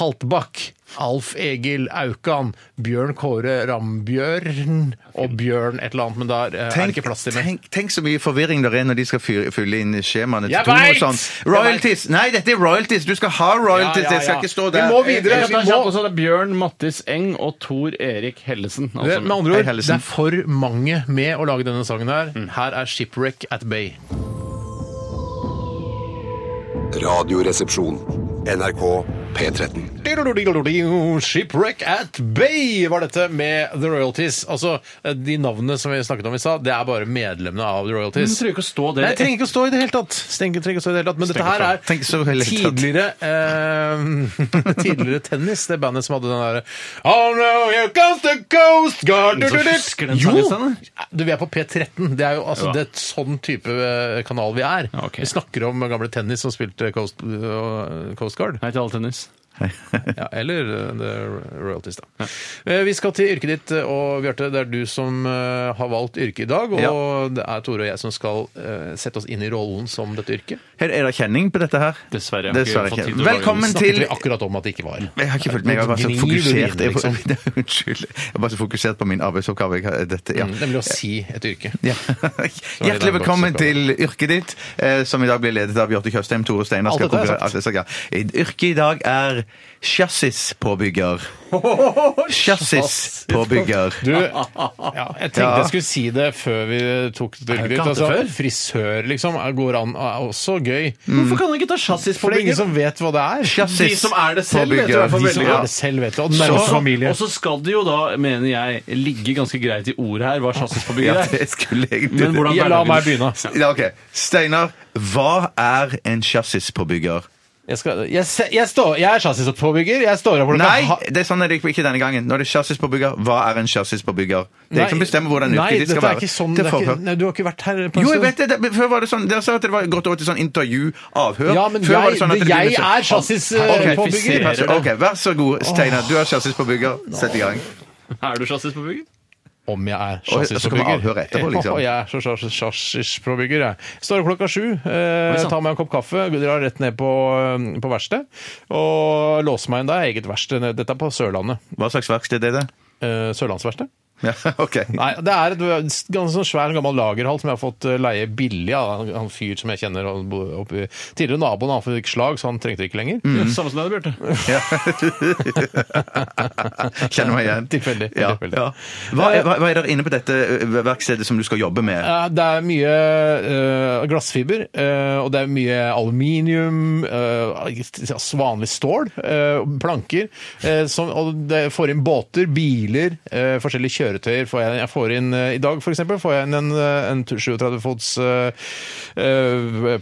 Haltbakk. Alf Egil Aukan, Bjørn Kåre Rambjørn og Bjørn et eller annet, men der eh, er det ikke plass til mer.
tenk, tenk så mye forvirring det er når de skal fyre, fylle inn skjemaene til
Jeg
Tone og
vet!
sånn.
Jeg
Royalties! Nei, dette er royalties! Du skal ha royalties!
Ja, ja,
Det skal
ja.
ikke stå
Vi
der.
må videre.
Ja,
Vi
det er
må-
kjapt også, det er Bjørn Mattis Eng og Tor Erik Hellesen. Altså, alle
Det,
sammen.
med andre
Hei,
ord, det
Hellesen.
er for mange med å lage denne sangen her. Her er Shipwreck at Bay.
Radioresepsjon. NRK P13.
Shipwreck at Bay var dette med The Royalties. Altså, de navnene som vi snakket om i stad, det er bare medlemmene av The
Men
Royalties.
det trenger ikke å stå det.
Nei, det trenger ikke å stå i det hele tatt. Stenker trenger ikke å stå i det hele tatt. Men dette her er
Tenk så hele tatt.
tidligere eh, Tidligere tennis, det bandet som hadde den derre Oh no, here comes the coast guard
Ingen som husker den
Jo!
sangen,
Du, vi er på P13. Det er jo altså,
Ja.
det er et sånn type eh, kanal vi er.
Ja, ok.
Vi snakker om gamle tennis som spilte Coast, eh, Coast Guard.
Hei til all tennis.
Ja, eller eh, The Royalties, da. Eh, Vi skal til yrket ditt, og Bjarte, det er du som eh, har valgt yrke i dag. Og
Ja.
det er Tore og jeg som skal eh, sette oss inn i rollen som dette yrket.
Her er det kjenning på dette her?
Dessverre, jeg har ikke fått tid til å lage
Velkommen
den.
til
Snakket vi akkurat om at det ikke var.
jeg har ikke fulgt med, jeg var så
Gnir du
fokusert
inn,
jeg,
liksom?
Unnskyld. Jeg var så fokusert på min arbeidsoppgave. Jeg, har- dette, ja.
Mm, Nemlig å si et yrke.
Ja. Hjertelig velkommen til yrket ditt, eh, som i dag blir ledet av Bjarte Tjøstheim. Tore Steinar
Alt
skal
dette
konkurrere.
har
Alt det skal- ja. Yrket i dag er chassispåbygger. Chassispåbygger.
Du, ja, jeg tenkte
Ja.
jeg skulle si det før vi tok det yrket
ikke
ditt.
hatt det
Altså,
før?
frisør, liksom, er- går an er også gøy.
Hvorfor kan han ikke ta chassis
For det er ingen som vet hva det er.
De som er det selv, vet i hvert fall
De som
veldig
er
godt.
det selv, vet du. Og
Og
nærmeste
så-
familie.
Og så skal det jo da, mener jeg, ligge ganske greit i ordet her hva chassis på bygget
Ja,
er.
det skulle jeg
Men hvordan
Ja, la meg begynne.
Ja, ok. Steinar, hva er en chassispåbygger?
Jeg, skal, jeg, se- jeg, står, jeg er chassisoppbygger. Jeg står opp for
Nei,
ha-
det er sånn er det ikke denne gangen. Nå er det chassispåbygger. Hva er en chassispåbygger? Det er
Nei,
jeg som bestemmer hvordan
nei,
yrket ditt skal
dette er
være.
ikke sånn-
Det
det
er
er ikke-
forhør.
Nei, Du har ikke vært her? på en
Jo, jeg
stund.
vet det. det. Før var det sånn Dere sa at det var gått over til sånn intervju, avhør.
Ja, men
Før
jeg-
var det sånn at
det-
det
jeg
begynner sånn-
er chassis, eh,
Ok,
påbygger.
pass- OK, vær så god, Steinar. Du er chassispåbygger. Sett i gang.
Er du chassis på bygget?
Om jeg er
Og så kommer avhør etterpå, liksom.
Og jeg er så chassis- chassispåbygger, jeg. Står opp klokka sju, eh,
sant.
tar meg en kopp kaffe, drar rett ned på, eh, på verkstedet og låser meg inn der. Eget verksted. ned- Dette er på Sørlandet.
Hva slags verksted er det?
Eh, Sørlandsverkstedet.
Ja, OK.
Nei, det er et ganske sånn svær gammel lagerhall som jeg har fått eh, leie billig av han- han fyr som jeg kjenner. Han bor oppi, tidligere naboen han fikk slag, så han trengte det ikke lenger.
Samme som deg, Bjarte.
Ja. Kjenner meg igjen.
Tilfeldig,
Ja,
tilfeldig.
ja. Hva, er, hva hva er der inne på dette eh, verkstedet som du skal jobbe med?
Eh, Det er mye eh, glassfiber, eh, og det er mye aluminium, eh, altså vanlig stål, eh, planker. eh, som, og det får inn båter, biler, eh, forskjellige kjøretøyer. Får jeg, jeg får inn, eh, I dag for eksempel, får jeg inn en, eh, en 37-fots eh,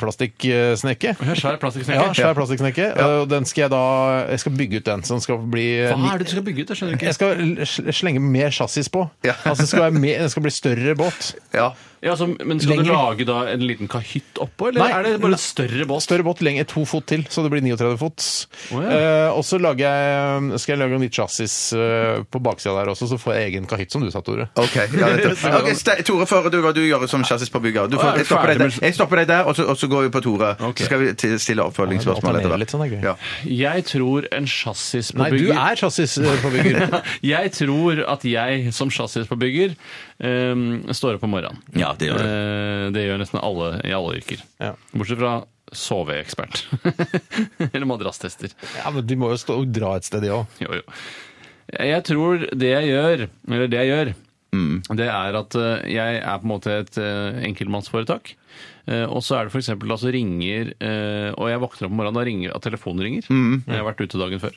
plastikksnekke.
Svær plastikksnekke.
Ja, svær plastikksnekke. eh, Og den skal jeg da jeg skal bygge ut den, så den skal bli eh,
Hva er det du skal bygge ut? Jeg skjønner ikke.
Jeg skal sl- slenge mer chassis på.
Ja.
Altså, det skal være mer, den skal bli større båt.
Ja.
Ja, så, men skal du
Lenger.
lage da en liten kahytt oppå, eller
Nei,
er det bare
nei.
et større båt?
Større båt lenger, to fot til, så det blir 39 fots.
Å, ja.
eh, og så lager jeg, skal jeg lage en nytt chassis eh, på baksida der også, så får jeg egen kahytt, som du sa, Tore.
OK. Ja, nettopp. Ok, Ste- Tore, fører du hva du gjør som chassispåbygger? Du får- Jeg stopper deg der, jeg stopper deg der og, så, og så går vi på Tore.
Ok.
Så skal vi til- stille oppfølgingsspørsmål
Ja, det
etter
alternerer litt, sånn er gøy.
Ja.
Jeg tror en chassis på
Nei, du
bygget
er chassis eh, på bygger.
Jeg tror at jeg som chassispåbygger um, står opp om morgenen.
Ja, det gjør du.
Eh, det gjør nesten alle i alle yrker.
Ja.
Bortsett fra soveekspert. eller madrasstester.
ja, men du må jo stå og dra et sted, de òg.
Jo, jo. Jeg tror det jeg gjør, eller det jeg gjør,
Mm.
det er at eh, jeg er på en måte et eh, enkeltmannsforetak. Eh, Og så er det f.eks. altså ringer eh, Og jeg våkner opp om morgenen, da ringer at telefonen ringer.
Mm.
Jeg har vært ute dagen før.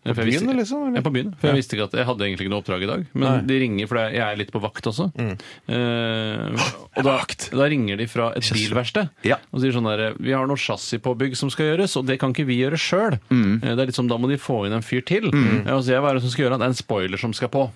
På
byen, liksom, eller?
Ja, på byen. For jeg visste ikke at Jeg hadde egentlig ikke noe oppdrag i dag, men de ringer fordi jeg er litt på vakt også.
Mm.
Eh, og da, da ringer de fra et bilverksted
Ja.
og sier sånn der Vi har noe chassispåbygg som skal gjøres, og det kan ikke vi gjøre sjøl.
Mm.
Det er litt som da må de få inn en fyr til. Eh, Og så sier jeg hva er det som skal gjøre det? Det er en spoiler som skal på.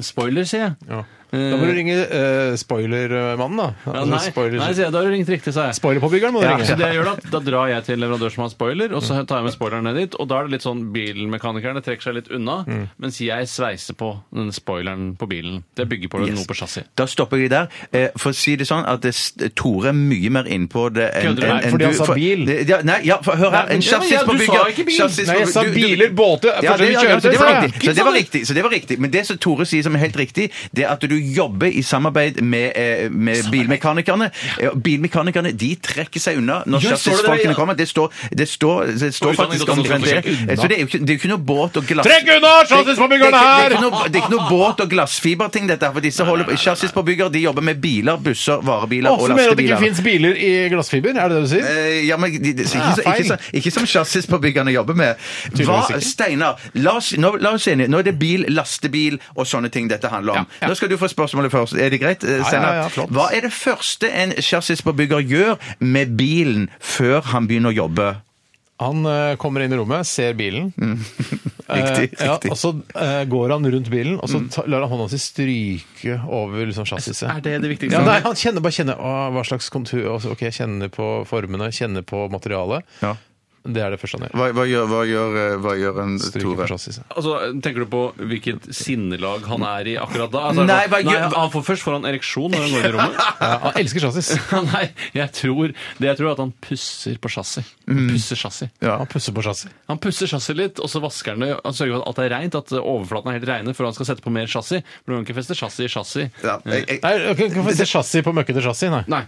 Spoiler, sier jeg.
Mm.
Eh,
Da må du ringe eh, spoilermannen, da.
Ja,
Altså,
nei,
spoiler,
nei, sier jeg. Da har du ringt riktig, sa jeg.
Spoilerpåbyggeren må du
Ja, så
ringe.
det jeg gjør Da da drar jeg til en leverandør som har spoiler, og så tar jeg med spoileren ned dit. Og da er det litt sånn bilmekanikerne trekker seg litt unna, mens jeg sveiser på denne spoileren på bilen. Det bygger på noe på chassis.
Da stopper jeg der. Eh, For å si det sånn at det, Tore er mye mer innpå det enn
Kødder du?
enn-
Nei,
enn
fordi han sa
for-
bil.
Det- Ja, nei, ja, for, hør her.
Nei,
En
men- ja, men ja,
chassis
du
på bygget.
sa ikke bil.
Chassis på-
Nei, jeg sa
du- du-
biler, båter
Ja, det,
forskjellige
ja, ja, så det var
kjøretøy.
riktig. Så det var riktig. Så det var riktig. Men det som Tore sier som er helt riktig, det er at du jobber i samarbeid med, eh, med bilmekanikerne. Ja, Bilmekanikerne de trekker seg unna
Ja, står det
når
der, ja.
chassisfolkene kommer. Det står, det står, det står
Oi, sånn,
faktisk
sånn, sånn,
omtrent
sånn,
det.
sånn,
Så det er jo ikke, det er jo ikke noe båt og glass...
Trekk unna chassisforbyggerne
Det er ikke
her!
noe, det er ikke noe båt- og glassfiberting, dette her. For disse holder på chassisforbyggere, de jobber med biler, busser, varebiler
Og
og
så mener du at det ikke
lastebiler.
fins biler i glassfiber? Er det det du sier?
Eh, ja, men de, de, ikke,
Ja,
så-
Ah, feil.
ikke, så- ikke som chassisforbyggerne jobber med.
Tydeligvis
Hva,
ikke.
Steinar, la oss, nå, la oss enige. Nå er det bil, lastebil og sånne ting dette handler om.
Ja, ja.
Nå skal du få spørsmålet først. Er det greit, eh, Steinar?
ja, ja, flott.
Hva er det første en chassisforbygger gjør med bilen før han begynner å jobbe?
Han eh, kommer inn i rommet, ser bilen.
Mm. Riktig,
Eh, ja,
riktig. Mm.
og så eh, går han rundt bilen, og så ta, lar han hånda si stryke over liksom, chassiset.
Er det det viktigste?
Ja, nei, han kjenner, bare kjenner å, hva slags kontur og så, Ok, jeg kjenner på formene, kjenner på materialet.
Ja.
Det er det første han gjør.
Hva, hva, gjør, hva, gjør, eh, hva gjør en
Stryker
Tore?
for chassisen.
Altså, Tenker du på hvilket sinnelag han er i akkurat da? Altså,
Nei,
er det
hva
sånn,
gjør-
nei, han får Først får han ereksjon når han går inn i rommet.
Ja, han elsker chassis.
nei, jeg tror, det jeg tror er at han pusser på chassis.
Mm.
Pusser chassis.
Han pusser på chassis.
Han pusser chassis litt, og så vasker han det. Han sørger for at alt er reint, at overflaten er helt reine før han skal sette på mer chassis. For du kan ikke feste chassis i chassis. Eh,
Ja, jeg, jeg,
Nei, kan kan vi se chassis på møkkete chassis? Nei.
Nei.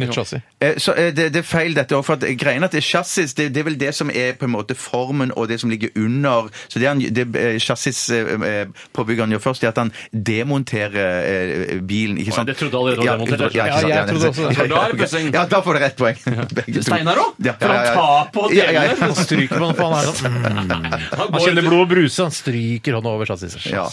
Nytt chassis.
Eh, Så eh, det, det er feil dette også, for at greien at det er chassis, det, det er vel det som er på en måte formen og det som ligger under. Så det, han, det eh, chassis eh, eh, påbyggeren gjør først, det er at han demonterer eh, bilen, ikke
Oi,
sant?
det trodde jeg allerede var
Ja,
demontert.
ja, ikke
Ja,
sant?
jeg
Ja,
trodde også det.
For
ja,
da er det
ok.
pussing.
Ja, da får du rett poeng. Begge to.
Steinar òg?
Ja,
For
ja, ja,
han
ja.
tar på
Ja, ja, ja.
delene!
Han stryker på den, for han er sånn mm. Han kjenner blod og bruse, han stryker hånda over chassiset.
Ja.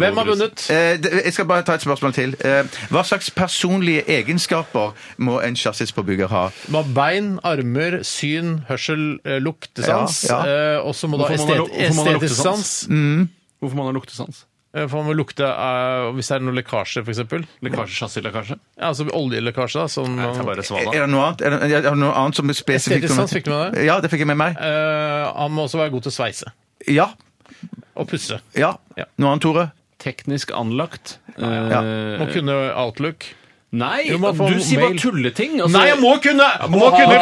Hvem har vunnet?
Eh, det- Jeg skal bare ta et spørsmål til. Eh, Hva slags personlige egenskaper må en chassispåbygger ha?
Man har bein, armer, syn, hørsel, eh, luktesans.
Ja,
eh, Og så må du ha
Hvorfor må man
estet,
ha lu- hvorfor må man ha
estetisk
luktesans?
sans.
Hvorfor man har luktesans?
Eh, For man må lukte eh, hvis det er noe lekkasje, f.eks.
Lekkasje, chassislekkasje?
Ja, altså oljelekkasje. da, Som,
Nei, det er
man-
bare
Er
svala.
det noe annet, er det, er det noe annet som er spesifikt?
Estetisk sans, fikk du med deg?
Ja, det fikk jeg med meg.
Eh, han må også være god til å sveise
Ja,
og pusse.
ja.
Ja.
Noe annet, Tore?
Teknisk anlagt. Eh,
Må kunne outlook.
Nei,
Jo, man får
du sier bare
mail.
tulleting. altså-
Nei, jeg må kunne! Må, kunne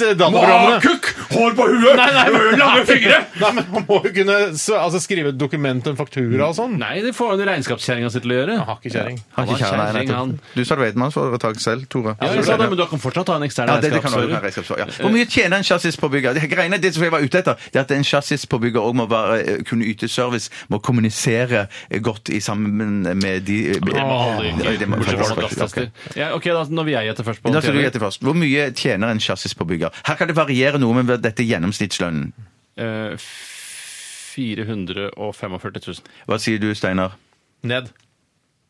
basis-dataprogrammene!
kukk! Hår på huet!
Nei, nei, men-
Lange fingre!
Nei, men Man må jo kunne s- altså, skrive et dokument, en faktura og sånn.
Nei, det får jo regnskapskjerringa si til å gjøre.
Jeg har ikke kjerring.
Han
Han
er ikke
er
kjære, nei,
kjæring,
nettopp.
han.
Du sa du var enmannsforetak selv, Tore.
Ja, jeg sa det, men Eh, du kan fortsatt ha en ekstern
Ja, det, det kan være
regnskapsfører.
regnskapsfører, ja. Hvor mye tjener en chassispåbygger? Det, greiene, det som jeg var ute etter, det er at en chassispåbygger òg må være, eh, kunne yte service, må kommunisere eh, godt i sammen med de
Det må alle
Nei, det
gjøre.
må-
Bortsett fra
Ok,
noen gasstester.
ok.
Ja, ok, da når vil jeg gjette først på
Da skal du
TV.
gjette først. Hvor mye tjener en chassispåbygger? Her kan det variere noe med dette gjennomsnittslønnen.
Eh, 445 000.
Hva sier du, Steinar?
Ned.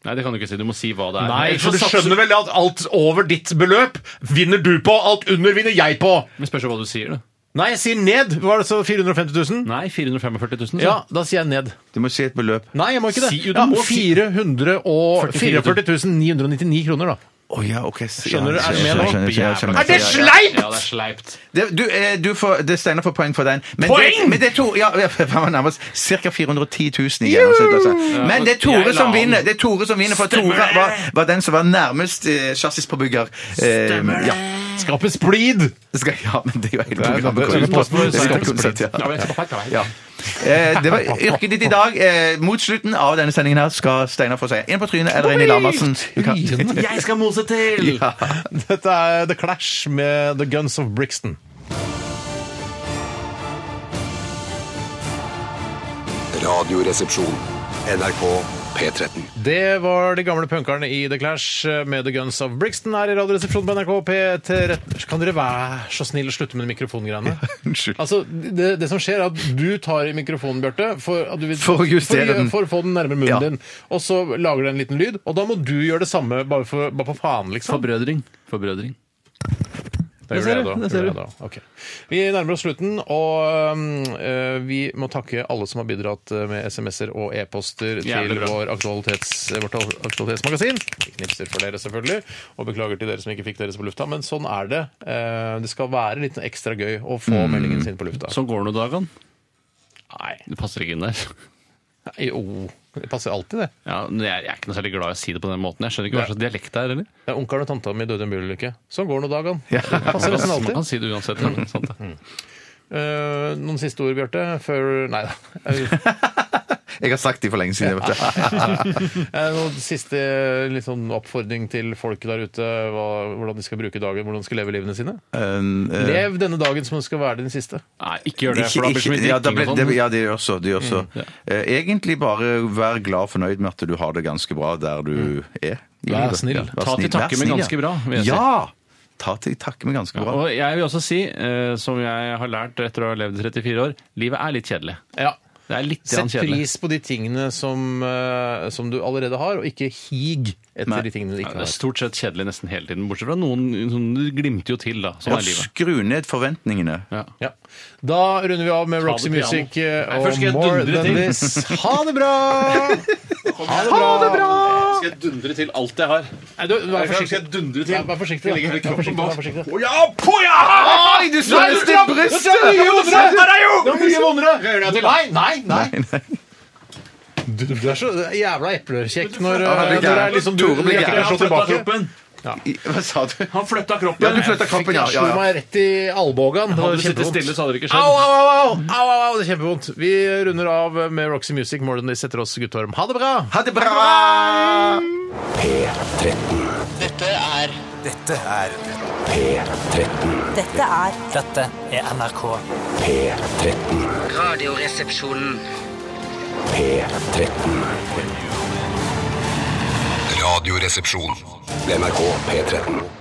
Nei, det kan du ikke si. Du må si hva det er.
Nei,
Ellers
for
så
du
satser-
skjønner vel at alt over ditt beløp vinner du på, alt under vinner jeg på.
Men spørs jo hva du sier, da.
Nei, jeg sier ned. Var det så 450 000?
Nei, 445 000. så.
Ja, da sier jeg ned.
Du må si et beløp.
Nei, jeg må ikke det.
Si jo, du
ja,
må si-
444 999 kroner, da.
Å ja, ok. så-
Skjønner du?
ja,
Er du med
skjønner,
nå?
skjønner, skjønner, skjønner.
Er det
Ja, ja.
sleipt?!
Ja, det er sleipt.
Det, du, eh, du får, det Steinar får poeng for den. Men
Poeng?!
Det, men det er to, ja, ja, nærmest ca. 410 000 i gjennomsnitt. Altså. Men det er
Jeg la
Tore som
den.
vinner, det er Tore som vinner for Tore var, var den som var nærmest eh, chassispåbygger. Eh, ja.
Skape splid!
Skal, ja, men det er jo hele
er-
programmet.
det er-
går ut
det er-
på. Det skal konsert, ja.
Ja, men jeg skal på feil vei.
Ja. Eh, det var yrket ditt i dag. Eh, mot slutten av denne sendingen her skal Steinar få seg en på trynet eller en i Lamarsen. Du kan-
Jeg skal mose til!
Ja.
Dette er The Clash med The Guns of Brixton.
Radioresepsjon. NRK P13.
Det var de gamle punkerne i The Clash eh, med The Guns of Brixton her i Radioresepsjonen på NRK P13. Kan dere være så snill å slutte med de mikrofongreiene?
Unnskyld.
Altså, det, det som skjer er at du tar i mikrofonen, Bjarte, for, at du vil-
For å justere
for,
den.
For å få den nærmere munnen
Ja.
din. Og så lager du en liten lyd, og da må du gjøre det samme, bare, for, bare på faen, liksom.
Forbrødring. Forbrødring.
Da gjør
ser
jeg
du,
da,
det
gjør
ser
jeg
du.
da. Ok. Vi nærmer oss slutten, og øhm, øh, vi må takke alle som har bidratt øh, med SMS-er og e-poster til
Jævlig bra.
vår aktualitets, eh, vårt aktualitetsmagasin. Vi knipser for dere, selvfølgelig, og beklager til dere som ikke fikk deres på lufta, men sånn er det. Eh, Det skal være litt ekstra gøy å få
Mm.
meldingen sin på lufta.
Sånn går det nå dagene.
Nei,
Du passer ikke inn der.
nei, jo Det passer alltid, det.
Ja, men jeg er ikke noe særlig glad i å si det på den måten. Jeg skjønner ikke hva
Nei.
slags dialekt det er, eller?
Det er Onkelen og tanta mi døde i en bilulykke. Sånn går nå dagene. Det passer nesten
Man
alltid.
kan si det uansett. Ja. Sant det.
Eh, noen siste ord, Bjarte? Før Nei da. Eh,
Jeg har sagt det for lenge siden. Vet du.
Eh, Noen siste litt sånn oppfordring til folk der ute, hva, hvordan de skal bruke dagen, hvordan de skal leve livene sine?
Um, eh,
Lev denne dagen som skal være din siste.
Nei, ikke gjør det, for da blir
Ikke-
det så mye
ikke- ja, da
drikking
blir-
og
det-
sånn.
Ja, det gjør så. Det gjør så. Eh, Egentlig bare vær glad og fornøyd med at du har det ganske bra der du er. i
Vær
livet.
snill.
Ja, vær
Ta til
snill. Vær
takke med
snill,
ganske
ja.
bra, vil jeg si.
Ja! Ta til takke med ganske bra.
Og jeg vil også si, eh, som jeg har lært etter å ha levd i 34 år, livet er litt kjedelig.
Ja.
Det er litt grann
Sett
kjedelig.
pris på de tingene som, eh, som du allerede har, og ikke hig etter de tingene du
Ja,
ikke
det er
har.
stort sett kjedelig nesten hele tiden, bortsett fra noen som glimter jo til, da. Sånn
Og
er livet.
skru ned forventningene.
Ja.
Ja. Da runder vi av med Roxy
det piano.
Music eh,
Nei,
og
først skal jeg
More
dundre
Than
til.
This. Ha det bra! Ha det bra!
skal jeg dundre til alt jeg har.
Nei, du,
Hver
vær
gang skal
forsiktig.
jeg dundre til.
Ja, vær forsiktig, da.
Jeg legger
Vær
hele
forsiktig,
kroppen bak.
vær forsiktig.
Poja, poja!
Oi, du så
Nei, du-
lyst til brystet!
Det er mye vondere!
Det er jo-
Det er mye vondere! Rører deg til. Nei, nei, nei!
Du, du er så jævla eplekjekk når,
Ja,
når
han blir
det er
gæren.
liksom du
Tore blir
jeg kan
gæren.
slå
Han flytta
tilbake.
kroppen.
Hva sa du?
Han flytta kroppen.
Ja, du flytta kroppen, ja.
Jeg
ja,
slo
ja.
meg rett i albuene. Det
Hadde
var
du sittet
kjempevondt.
stille, så hadde det ikke
Au,
skjedd.
au, au, au, au, au, au, det er kjempevondt. Vi runder av med Roxy Music. Morgen de setter oss guttorm. Ha det bra!
Ha det bra!
P13.
Dette er
P13.
Dette er
Dette er NRK.
P13.
Radioresepsjonen.
P13.
Radioresepsjon.
NRK P13.